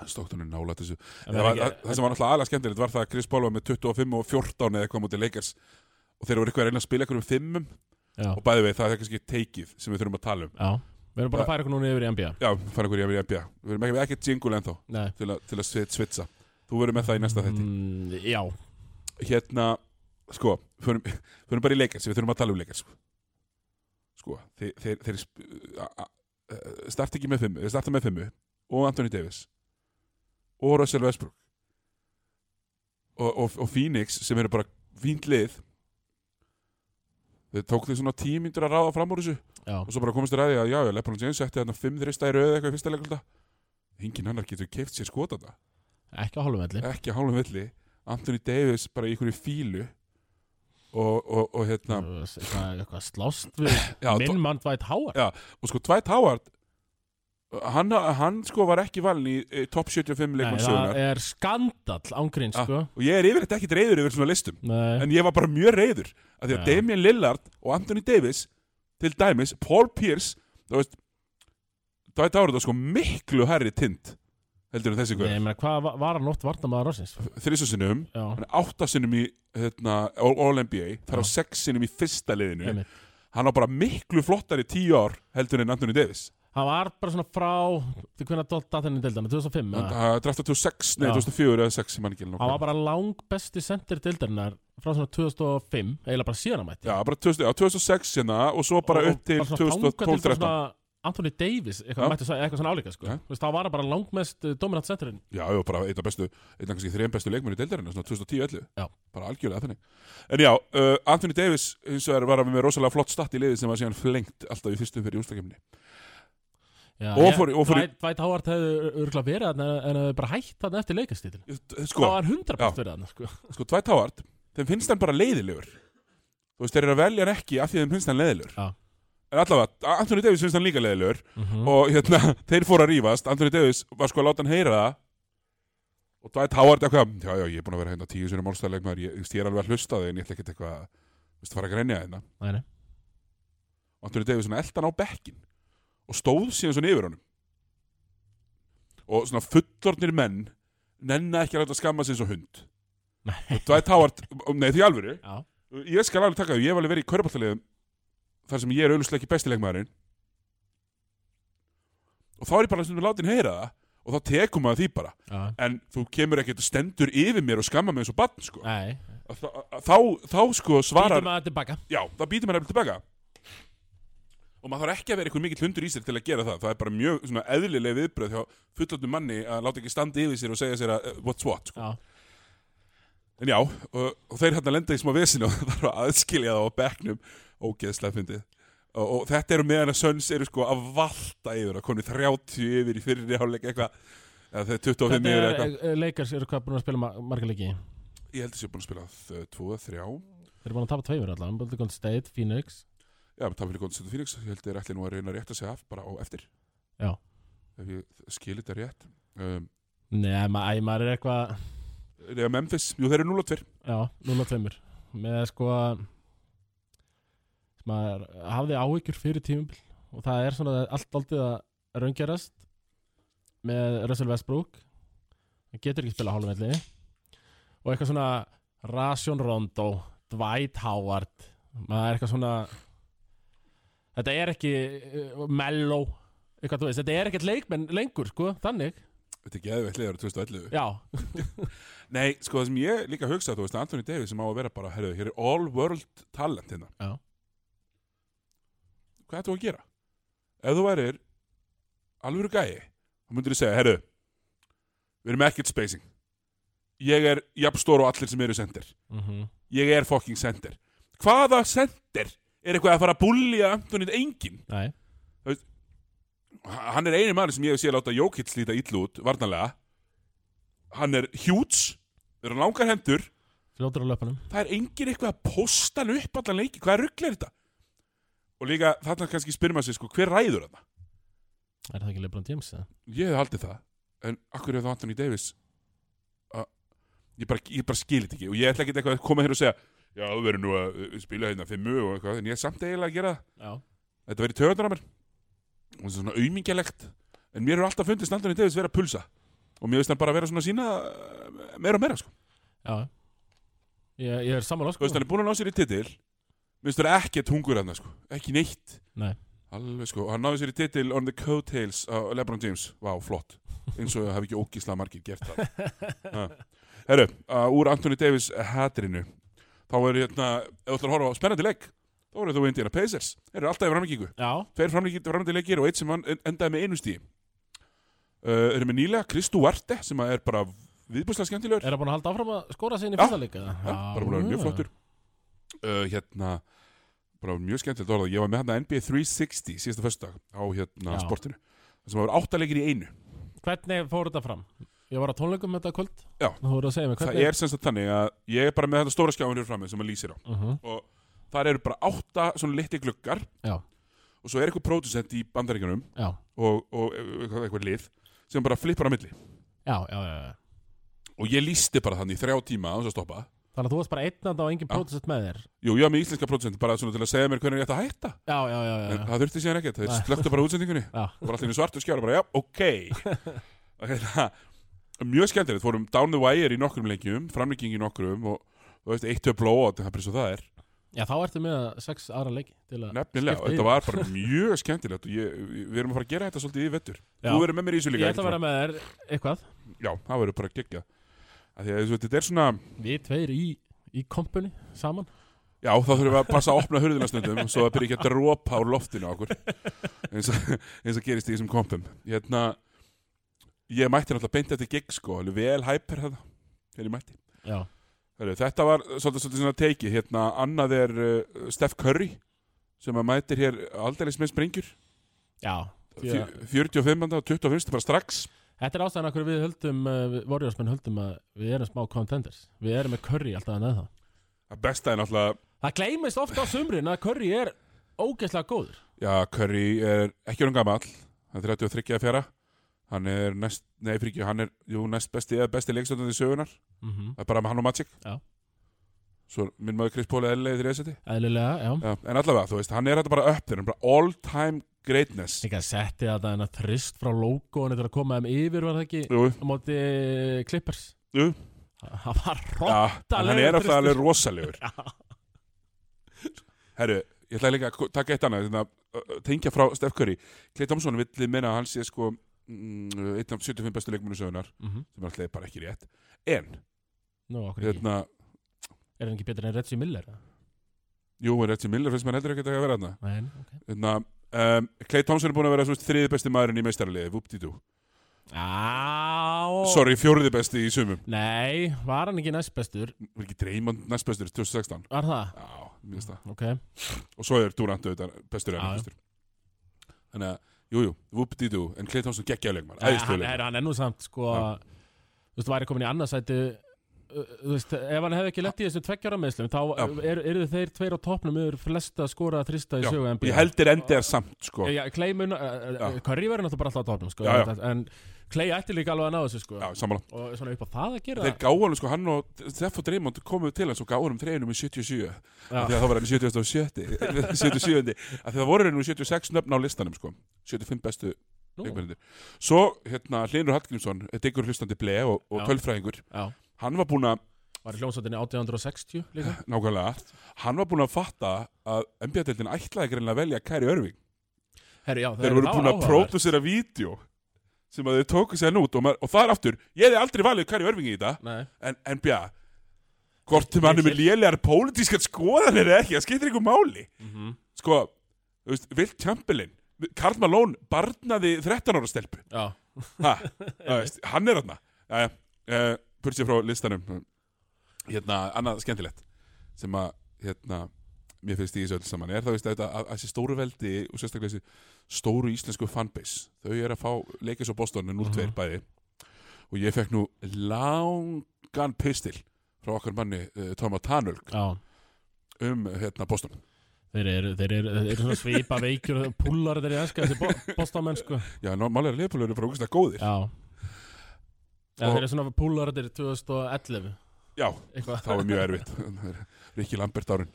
Speaker 1: Stóktunni nála þessu
Speaker 2: En
Speaker 1: það, var, það,
Speaker 2: er ekki-
Speaker 1: það sem var náttúrulega aðlega skemmtilegt var það að Chris Paul var með 25 og 14 eða eitthvað á móti leikars og þeir voru eitthvað að reyna að spila eitthvað um fimmum
Speaker 2: Já,
Speaker 1: og bæði við það er kannski teikið sem við þurfum að tala um
Speaker 2: já Við erum bara að færa okkur núna yfir í NBA
Speaker 1: Já, fara einhverju yfir í NBA Við erum ekki með ekkert jingle ennþá
Speaker 2: Nei
Speaker 1: til að, til að svit- svitsa Þú verður með það í næsta þetti
Speaker 2: Mm, Já,
Speaker 1: Hérna, sko, förum, förum bara í leikars við þurfum að tala um leikars Sko, þeir, þeir, þeir sp- a- a- a- starta ekki með fimmu þeir starta með fimmu og Anthony Davis og Russell Westbrook og, og, og Phoenix sem eru bara fínt lið þau tók því svona tíu myndur að ráða fram úr þessu
Speaker 2: já
Speaker 1: og svo bara komist þér að því að já, já, Lebron James setti þarna fimm þrista í röðu eitthvað í fyrsta leikulta engin annar getur keft sér skotanda
Speaker 2: Ekki á hálfum velli
Speaker 1: ekki á hálfum velli Anthony Davis bara í einhverju fílu og, og, og hérna
Speaker 2: Eitthvað eitthvað slást við
Speaker 1: já,
Speaker 2: minn mann Dwight Howard
Speaker 1: og sko Dwight Howard hann, hann sko var ekki valin í eh, top 75
Speaker 2: Nei,
Speaker 1: leikmann
Speaker 2: það
Speaker 1: sögunar
Speaker 2: er skandall ángrín
Speaker 1: Ah.
Speaker 2: sko
Speaker 1: og ég er yfirleitt ekki reyður yfir svona listum
Speaker 2: Nei,
Speaker 1: en ég var bara mjög reyður af því að
Speaker 2: Já.
Speaker 1: Damian Lillard og Anthony Davis til dæmis, Paul Pierce þú veist Dwight Howard var sko miklu herri tind heldur en þessi
Speaker 2: Nei,
Speaker 1: hver
Speaker 2: menn, hvað var- var hann oft varnamaður ásins?
Speaker 1: þrísasinnum,
Speaker 2: Já,
Speaker 1: hann er áttasinnum í hérna, All-NBA, þar á
Speaker 2: Já.
Speaker 1: sexsinnum í fyrsta liðinu
Speaker 2: einmitt.
Speaker 1: hann var bara miklu flottari í tíu ár heldur en Anthony Davis
Speaker 2: Hann var bara svona frá, til hvernig að dotta þenni deildarna, 2005 eða?
Speaker 1: hann drafta 2006, nei
Speaker 2: Já.
Speaker 1: 2004 eða 6 mann ekki alveg
Speaker 2: Hann var
Speaker 1: nákvæmlega.
Speaker 2: bara lang besti sendir deildarinnar frá svona 2005, eiginlega bara síðan að mætti
Speaker 1: Já, bara 2000, já, 2006 hérna og svo bara upp til
Speaker 2: bara
Speaker 1: 2012-13
Speaker 2: svona Anthony Davis,
Speaker 1: Já.
Speaker 2: eitthvað, mætti, sa- eitthvað svona álíka sko.
Speaker 1: Já.
Speaker 2: Þú veist, Það var hann bara langmest eh, dominant sendirinn
Speaker 1: Já, já, bara einn af bestu, einn af kannski þreim bestu leikmenn í deildarinn, svona 2010-11
Speaker 2: Já.
Speaker 1: Bara algjörlega þannig En já, uh, Anthony Davis hins vegar var með rosalega flott statt í liði sem var síðan flengt alltaf í fyrstum fyrir jústakemni
Speaker 2: Já,
Speaker 1: Og
Speaker 2: ég-
Speaker 1: fór í- og fór í-
Speaker 2: Dwight- Dwight Howard hefði örgulega verið þarna en hefði bara hætt þarna eftir leikastítil
Speaker 1: Sko,
Speaker 2: Það var 100% verið þarna sko.
Speaker 1: sko, Dwight Howard, þeim finnst hann bara leiðilegur Þú veist, þeir eru að velja hann ekki af því að þeim finnst hann leiðilegur
Speaker 2: Já.
Speaker 1: En allavega, Anthony Davis finnst hann líka leiðilegur
Speaker 2: Mhm.
Speaker 1: og hérna, þeir fóru að rífast Anthony Davis var sko að láta hann heyra það og Dwight Howard eitthvað já, já, ég er búin að vera hérna tíu sinni málstæðleikmaður ég, ég er alveg að hlusta á þig en ég ætla ekkert eitthvað veist, fara að grenja hérna. þeirna
Speaker 2: Nei, nei.
Speaker 1: og Anthony Davis svona eldan á bekkin og stóð síðan svona yfir honum og svona fullornir menn nenna ekki að láta skamma sig eins og hund
Speaker 2: Nei.
Speaker 1: og Dwight Howard, nei því alvöru
Speaker 2: Já.
Speaker 1: ég skal alveg taka því, ég hef alveg verið í körbáttaliðum þar sem ég er auðvitað ekki besti leikmaðurinn og þá er ég bara stundum látin heyra það og þá tekum maður því bara
Speaker 2: Já.
Speaker 1: en þú kemur ekkert og stendur yfir mér og skamma mig eins og barn sko
Speaker 2: Nei.
Speaker 1: Að þá, að þá, þá sko svarar
Speaker 2: Býtum að tilbaka
Speaker 1: já, þá býtum maður eftir tilbaka og maður þarf ekki að vera einhver mikill hundur í sér til að gera það það er bara mjög svona eðlileg viðbröð hjá fullotnum manni að láta ekki standa yfir sér og segja sér að eh, what's what sko.
Speaker 2: Já.
Speaker 1: En já, og, og þeir hérna lenda í smá vesinu og það þarf að aðskilja það á bekknum ógeðslega fyndið. Og, og þetta eru meðan að Söns eru sko að valta yfir að konu 30 yfir í fyrir hálfleik eitthvað eða þeir 25
Speaker 2: Hvernig
Speaker 1: yfir eða
Speaker 2: er,
Speaker 1: eitthvað.
Speaker 2: eh, Lakers eru hvað búin að spila ma- marga leiki
Speaker 1: Ég held að sé búin að spila 2, 3
Speaker 2: Þeir eru búin að tapa tveimur allavega Golden Golden State, Phoenix
Speaker 1: Já, það fyrir góðan stundu Fílix ég held þeir ætli nú að reyna að rétta sig af bara á eftir
Speaker 2: Já.
Speaker 1: Ef ég skil þetta rétt um,
Speaker 2: Nei, ma æ, maður er eitthvað
Speaker 1: Eða Memphis, jú þeir eru 0 og 2
Speaker 2: Já, 0 og tveimur Með sko maður hafði áhyggjur fyrir tímumbil og það er svona allt aldrei að raungjarast með Russell Westbrook hann getur ekki spila hálfvelli og eitthvað svona Ration Rondo, Dwight Howard maður er eitthvað svona þetta er ekki uh, mellow, eitthvað þú veist þetta er ekkert leikmenn lengur sko, þannig
Speaker 1: Þetta er geðveitt liður 2011
Speaker 2: já,
Speaker 1: Nei, sko það sem ég líka hugsa þú veist að Anthony Davis sem á að vera bara, herru, hér er all world talent hérna
Speaker 2: Já.
Speaker 1: Hvað ættu að gera? Ef þú værir alvöru gæi, þá myndir þú segja, herru við erum ekkert spacing ég er jafn stór og allir sem eru sendir
Speaker 2: mm
Speaker 1: ég er fucking sendir hvaða sendir er eitthvað að fara að bullja Anthony engin?
Speaker 2: nei
Speaker 1: H- Hann er eini maður sem ég hef séð láta Jókic líta illu út, varnarlega Hann er hjúts er hann langar hendur
Speaker 2: fljótur á löpunum
Speaker 1: það er engin eitthvað að posta hann upp allan leiki, hvað ruggl er þetta? Og líka þarna kannski spyrir maður sig sko, hver ræður þarna?
Speaker 2: er það ekki Lebron James eða?
Speaker 1: Ég hef haldið það, en akkur er það Anthony Davis að ég bara, ég bara skilir þetta ekki og ég ætla ekki eitthvað að koma hér og segja já, þú verður nú að uh, spila hérna fimmu og eitthvað, en ég er samt eiginlega að gera það
Speaker 2: já
Speaker 1: þetta verið töðunar á mér og það er svona auðmingjalegt en mér hefur alltaf fundist Anthony Davis vera að pulsa og mér veist hann bara vera svona sína meira og meira sko
Speaker 2: Já Ég, ég er sammála
Speaker 1: Þú
Speaker 2: sko
Speaker 1: veist, hann er búin að ná sér í titil Mér finnst það ekkert hungur hann, sko Ekki neitt
Speaker 2: Nei.
Speaker 1: Alveg, sko Hann náði sér í titil on the coattails á LeBron James Vá, flott Eins og hef ekki ógísla margir gert það Ha. Herru, uh, úr Anthony Davis hatrinu Þá er hérna Ef þú ætlar að horfa á spennandi leik Þá eru þú Indiana Pacers Þeir eru alltaf í framlíkingu
Speaker 2: Já,
Speaker 1: Tveir framlíkingu framlíkingu leikir og eitt sem hann en- endaði með einu stíði uh, Eru með nýlega Kristu Varte Sem að er bara viðbúslega skemmtilegur
Speaker 2: er það búin að halda áfram að skora sig inn í
Speaker 1: Já.
Speaker 2: fyrsta leika?
Speaker 1: Já, bara búin að vera mjög flottur uh, hérna bara mjög skemmtilegt orðað, ég var með hérna NBA 360 síðasta föstudag á hérna
Speaker 2: Já.
Speaker 1: sportinu þar sem það var áttalegir í einu
Speaker 2: Hvernig fór þetta fram? Ég var á tónleikum þetta kvöld
Speaker 1: Já.
Speaker 2: Þú voru að segja mér
Speaker 1: Það
Speaker 2: hvernig
Speaker 1: er sem sagt þannig að ég er bara með þetta stóra skjáin hér frammi sem maður lýsir á
Speaker 2: uh
Speaker 1: og þar eru bara átta svona litli gluggar
Speaker 2: Já,
Speaker 1: og svo er eitthvað pródusent í bandaríkjunum
Speaker 2: já,
Speaker 1: og, og eitthvað, eitthvað lið sem bara flippar á milli
Speaker 2: já, já, já, já.
Speaker 1: og ég lýsti bara þannig í þrjá tíma án þess að stoppa
Speaker 2: Þannig að þú varst bara einn að og engin
Speaker 1: Já.
Speaker 2: prótisett með þér
Speaker 1: Jú, ég var með íslenska pródusent bara svona til að segja mér hvernig ég ætti að hætta
Speaker 2: Já, já, já, já,
Speaker 1: en
Speaker 2: já.
Speaker 1: það þurfti síðan ekkert, þeir
Speaker 2: Nei.
Speaker 1: slöktu bara á útsendingunni
Speaker 2: já.
Speaker 1: og bara allir svartu skjára bara, já, ok og hérna mjög skemmtilegt, fórum down the wire í nokkrum lengjum framlegging í nokkrum og þú veist, eitt höf blóa það er bara eins og það er
Speaker 2: Já, þá ertu með sex aðra leiki til að
Speaker 1: nefnilega,
Speaker 2: skipta í.
Speaker 1: þetta var bara mjög skemmtilegt og ég, við erum að fara að gera þetta svolítið í vettur
Speaker 2: Já.
Speaker 1: þú verður með mér í þessu
Speaker 2: Ég
Speaker 1: líka sko.
Speaker 2: ætla að vera með þér eitthvað
Speaker 1: já, það verður bara að gegja að því að þú veist, þetta er svona,
Speaker 2: Við tveir í, í kompunni saman
Speaker 1: já, þá þurfum við að passa að opna hurðina stundum svo það byrja ekki að dropa úr loftinu á okkur eins og, eins og gerist í þessum kompum hérna, ég mætti náttúrulega beint eftir gig sko, alveg vel hæper þetta, þegar ég mætti
Speaker 2: Já,
Speaker 1: Heru, þetta var svolítið, svolítið svona teiki hérna, annað er uh, Steph Curry sem að mætir hér aldeilis með springjur
Speaker 2: já Því að-
Speaker 1: Fjö- 45. og 25. bara strax
Speaker 2: Þetta er ástæðan okkur við höldum, uh, við Warriorsmenn höldum að við erum smá contenders. Við erum með curry alltaf en eða.
Speaker 1: að besta er náttúrulega,
Speaker 2: Það gleymist ofta á sumrin að curry er ógeðslega góður.
Speaker 1: já Curry er ekki orðin gamall, hann er 33 að fjara hann er næst, nei fyrir ekki hann er, jú, næst besti eða besti leikstöndandi sögunar,
Speaker 2: Mm
Speaker 1: það er bara með hann og Magic
Speaker 2: Já.
Speaker 1: svo er minn maður Chris Paul er eðlilega í þriðasæti
Speaker 2: Eðlilega, já.
Speaker 1: Já, en allavega, þú veist, hann er þetta bara upp þér, hann er bara all time greatness
Speaker 2: Líka setti þetta en að þrist frá logoinu til að koma þeim yfir var það ekki
Speaker 1: Jú,
Speaker 2: á móti Clippers.
Speaker 1: Jú.
Speaker 2: Það það var rótt.
Speaker 1: Já, en hann er alltaf alveg rosalegur Herru, ég ætla líka að taka eitt annað þetta, uh, tengja frá Steph Curry Clay Thompson vill minna að hann sé sko mm, einn af 75 bestu leikmennu sögunar
Speaker 2: Mm -hmm.
Speaker 1: sem er alltaf bara ekki rétt en,
Speaker 2: Nú, okkur ekki.
Speaker 1: hérna,
Speaker 2: Er hann ekki betur en Reggie Miller? eða?
Speaker 1: jú, er Reggie Miller finnst maður heldur ekki að vera þarna
Speaker 2: Nei, ok.
Speaker 1: hérna, um, Clay Thompson er búin að vera svona þriði besti maðurinn í meistaraliði, vuptidú
Speaker 2: Á.
Speaker 1: sorry, fjóruði besti í sumum
Speaker 2: Nei, var hann ekki næst bestur?
Speaker 1: var ekki Dreymond næst bestur, 2016
Speaker 2: Var það?
Speaker 1: já, minnst það
Speaker 2: Ok.
Speaker 1: og svo er Durant auðvitað bestur
Speaker 2: Já,
Speaker 1: en
Speaker 2: já.
Speaker 1: bestur þannig að, jújú, vupdídu en Clay Thompson geggjaði leikmann,
Speaker 2: Nei,
Speaker 1: æðislega
Speaker 2: hann, er,
Speaker 1: leikmann
Speaker 2: hann er nú samt sko
Speaker 1: Já.
Speaker 2: Þú veist, væri komin í annarsæti Þú veist, ef hann hefði ekki lett í þessu tveggjara meðslum þá
Speaker 1: Já.
Speaker 2: er, eru þeir tveir á topnum yfir flesta skora að þrista í
Speaker 1: Já,
Speaker 2: sögu NBA
Speaker 1: ég heldur endið samt, sko já,
Speaker 2: Já, Clay mun, uh,
Speaker 1: Já.
Speaker 2: Curry verður náttúrulega bara alltaf á topnum sko,
Speaker 1: Já, já.
Speaker 2: en Clay ætti líka alveg að ná þessu sko
Speaker 1: sammála
Speaker 2: og svona upp á það að gera
Speaker 1: þeir gáðu hann, sko, hann og Steff og Dreymond komuðu til hans og gáðu hann treinum í 77 já.
Speaker 2: Já.
Speaker 1: því að það var hann í 77 77, af því að það voru hann í 76 nöfn á listanum, sko 75 bestu
Speaker 2: Nú.
Speaker 1: leikmennir svo, hérna, Hlinur Hallgrímsson diggur hlustandi ble og, og
Speaker 2: Já.
Speaker 1: tölfræðingur
Speaker 2: Já,
Speaker 1: hann var búin að,
Speaker 2: var í hljómsveitinni 1860 líka
Speaker 1: nákvæmlega hann var búin að fatta að NBA-deltin ætlaði greinlega að velja Kæri Örving
Speaker 2: Herri, já, það
Speaker 1: þeir
Speaker 2: er-
Speaker 1: voru
Speaker 2: það var
Speaker 1: búin að
Speaker 2: áhugavert. prófus
Speaker 1: pródusera vídeo sem að þeir tóku sér nút og, maður- og það er aftur, ég hefði aldrei valið Kari Örvingi í þetta,
Speaker 2: Nei,
Speaker 1: en NBA hvort til mannum er lélegar pólitískat skoðanir eða ekki, það skiptir ykkur máli
Speaker 2: mhm,
Speaker 1: sko, þú veist, Will Chamberlain Karl Malone barnaði 13 ára stelpu
Speaker 2: já,
Speaker 1: ha, þú veist, hann er þarna Jæja, uh, pursið frá listanum hérna, annað skemmtilegt sem að, hérna mér finnst í þessu öll saman, er það veist þetta að að þessi stóru veldi og sérstaklega þessi stóru íslensku fanbase, þau eru að fá leikis á Boston en úr tveir bæði og ég fekk nú langan pistil frá okkar manni uh, Tóma Tanölk
Speaker 2: já
Speaker 1: um hérna Boston
Speaker 2: Þeir eru, þeir eru, þeir eru svona svipa veikjur púlar þeir eru enska þessi bo bostamenn sko
Speaker 1: Já, ná, málega leifbúlega eru bara úkislega góðir
Speaker 2: Já Já,
Speaker 1: Og-
Speaker 2: þeir eru svona púlar þeir eru 2011
Speaker 1: Já,
Speaker 2: eitthvað
Speaker 1: þá er mjög erfitt Rikki Lambert árin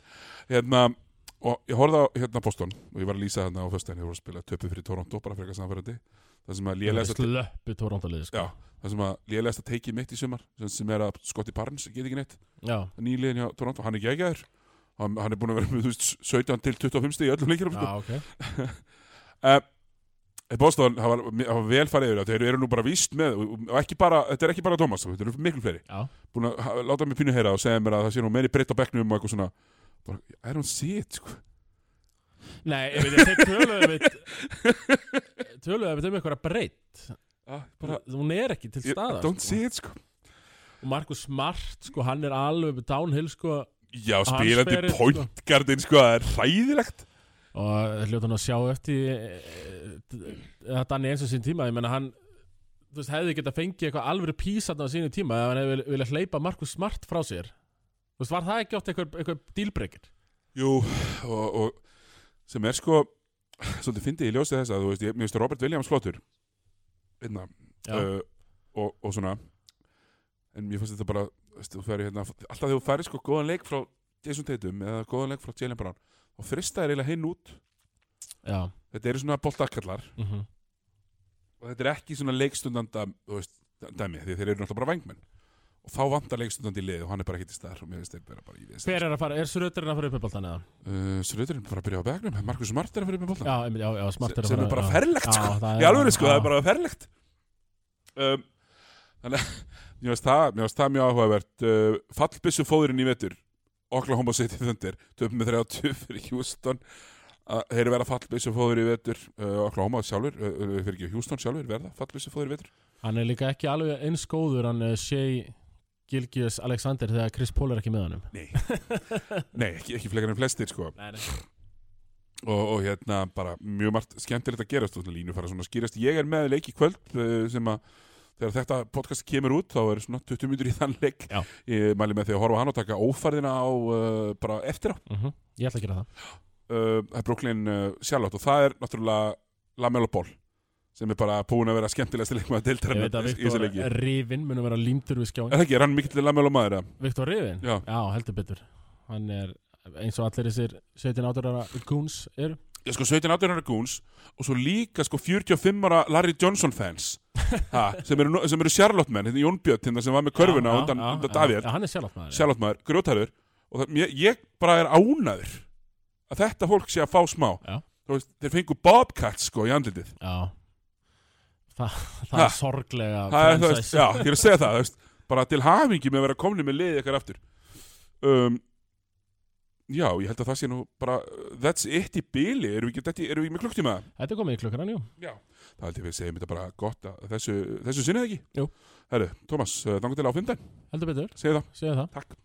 Speaker 1: hérna, og ég horfði á hérna Boston og ég var að lýsa hérna á föstudaginn, ég voru að spila töpu fyrir Toronto bara fyrir eitthvað samfærandi það sem að lélegasta
Speaker 2: Slöppu Tórandalið sko
Speaker 1: Já, það sem að lélegast að teikið mitt í sumar sem, sem er að Scotty Barnes get ekki neitt
Speaker 2: Já,
Speaker 1: nýliðin hjá Toronto, hann er geggjæður hann, hann er búin að vera með þú veist, 17 til 25 stig í öllum leikirum
Speaker 2: já
Speaker 1: sko.
Speaker 2: ok
Speaker 1: Eh, Boston hafa, hafa vel farið yfir það þeir eru nú bara víst með og og ekki bara, þetta er ekki bara Thomas, þetta eru miklu fleiri
Speaker 2: Já,
Speaker 1: búin að ha- láta mig pínu heyra og segja mér að það sé nú meiri breytt á bekknum og eitthvað svona bara, I don't see it sko.
Speaker 2: nei, ég veit, þeir töluðu við töluðu við um eitthvað breytt
Speaker 1: bara,
Speaker 2: hún er ekki Ah, til
Speaker 1: I
Speaker 2: staðar
Speaker 1: don't
Speaker 2: sko.
Speaker 1: see it sko.
Speaker 2: og Markus Smart sko, hann er alveg downhill sko
Speaker 1: já,
Speaker 2: Hann
Speaker 1: spilandi
Speaker 2: spyrir, sko.
Speaker 1: pointgardin sko, það er hræðilegt
Speaker 2: og hljóta hann að sjá eftir eh, eh, þetta hann í eins og sín tíma ég menna hann þú veist, hefði getað fengið eitthvað alvöru písatna á sínu tíma ef hann hefði vil- viljað hleypa Markus Smart frá sér þú veist, var það ekki oft eitthvað, eitthvað dílbreykir
Speaker 1: Jú, og, og sem er sko svolítið fyndið í ljósið þess að þú veist, ég, mér veist Robert Williams flottur hérna uh, og, og svona en mér fannst þetta bara veist, þú færi, hérna, alltaf þegar þú færi sko góðan leik frá Jason Tatum eða góðan leik frá Jalen Brown og frista er eiginlega hinn út
Speaker 2: já,
Speaker 1: þetta eru svona boltakallar
Speaker 2: mm
Speaker 1: og þetta er ekki svona leikstundanda þú veist, dæmi, því þeir eru náttúrulega bara vængmenn og þá vantar leikstundandi í lið og hann er bara ekki til staðar og mér finnst þeir bara í þess
Speaker 2: hver er að fara, er Sröturinn að fara upp í boltan eða?
Speaker 1: uh, Sröðurinn bara að byrja á begnum Markus Smart er að fyrir með boltan
Speaker 2: Já, einmitt, já, já, smart er að
Speaker 1: sem
Speaker 2: fara
Speaker 1: er bara
Speaker 2: já.
Speaker 1: ferlegt
Speaker 2: Já,
Speaker 1: sko.
Speaker 2: það
Speaker 1: í alveg sko,
Speaker 2: já.
Speaker 1: það er bara ferlegt um, þannig að mér varst það, mér varst það mjög áhugavert uh, fallbissu fóðurinn í vetur Oklahoma City Thunder töfum með 30 fyrir Houston að þeir vera fallbissu fóður í vetur uh, Oklahoma sjálfur, uh, uh, fyrir ekki Houston sjálfur verða fallbissu fóður í vetur
Speaker 2: Hann er líka ekki alveg eins góður hann uh, Shea Gilgius Alexander þegar Chris Paul er ekki með honum
Speaker 1: nei, nei ekki, ekki fleikar en flestir sko.
Speaker 2: Nei, nei
Speaker 1: og, og hérna bara mjög margt skemmtilegt að gerast og svona línu fara svona að skýrast ég er með leik í kvöld eh, sem að þegar þetta podcast kemur út þá er svona 20 mínútur í þann leik
Speaker 2: Já.
Speaker 1: ég mæli með því að horfa á hann og taka ófærðina á uh, bara eftir á
Speaker 2: Mhm. Ég ætla að gera það
Speaker 1: uh, það er Brooklyn uh, sjálfátt og það er náttúrulega Lamelo Ball sem er bara búin að vera skemmtilegasti leikmaður
Speaker 2: Ég veit að
Speaker 1: deildarinnar í þessu leiki
Speaker 2: Viktor Rivin munum vera límtur við skjáin
Speaker 1: Er það ekki, er hann mikill Lamelo maður eða?
Speaker 2: Viktor Rivin?
Speaker 1: Já.
Speaker 2: heldur betur Hann er eins og allir þessir 17 ára goons eru
Speaker 1: Já, sko 17 18 ára Goons og svo líka sko 45 ára Larry Johnson fans ha, sem, eru, sem eru Charlotte menn, hérna Jón Björn hérna, sem var með körfuna
Speaker 2: Já,
Speaker 1: undan,
Speaker 2: já,
Speaker 1: undan
Speaker 2: já,
Speaker 1: Davíð
Speaker 2: já, Hann er sjálf maður
Speaker 1: Charlotte maður, grjótarður og það, ég, ég bara er ánaður að þetta fólk sé að fá smá
Speaker 2: Já.
Speaker 1: Þú veist, þeir fengu Bobcats sko í andlitið
Speaker 2: Já Þa, Það
Speaker 1: Ha.
Speaker 2: er sorglega
Speaker 1: það er, þú veist,
Speaker 2: franchise.
Speaker 1: já, ég er að segja það þú veist, bara til hamingi með að vera komni með liðið ykkar aftur um, já, ég held að það sé nú bara uh, that's it í bíli, erum við ekki þetta í- erum við ekki með klukkt í með það?
Speaker 2: Þetta er komið í klukkan hann, jú
Speaker 1: Já. Það held ég við segjum þetta bara gott að þessu, þessu sinnið ekki
Speaker 2: Jú.
Speaker 1: Herru, Tómas, þangar til á 15
Speaker 2: Heldur betur,
Speaker 1: segið það
Speaker 2: segðu það
Speaker 1: Takk.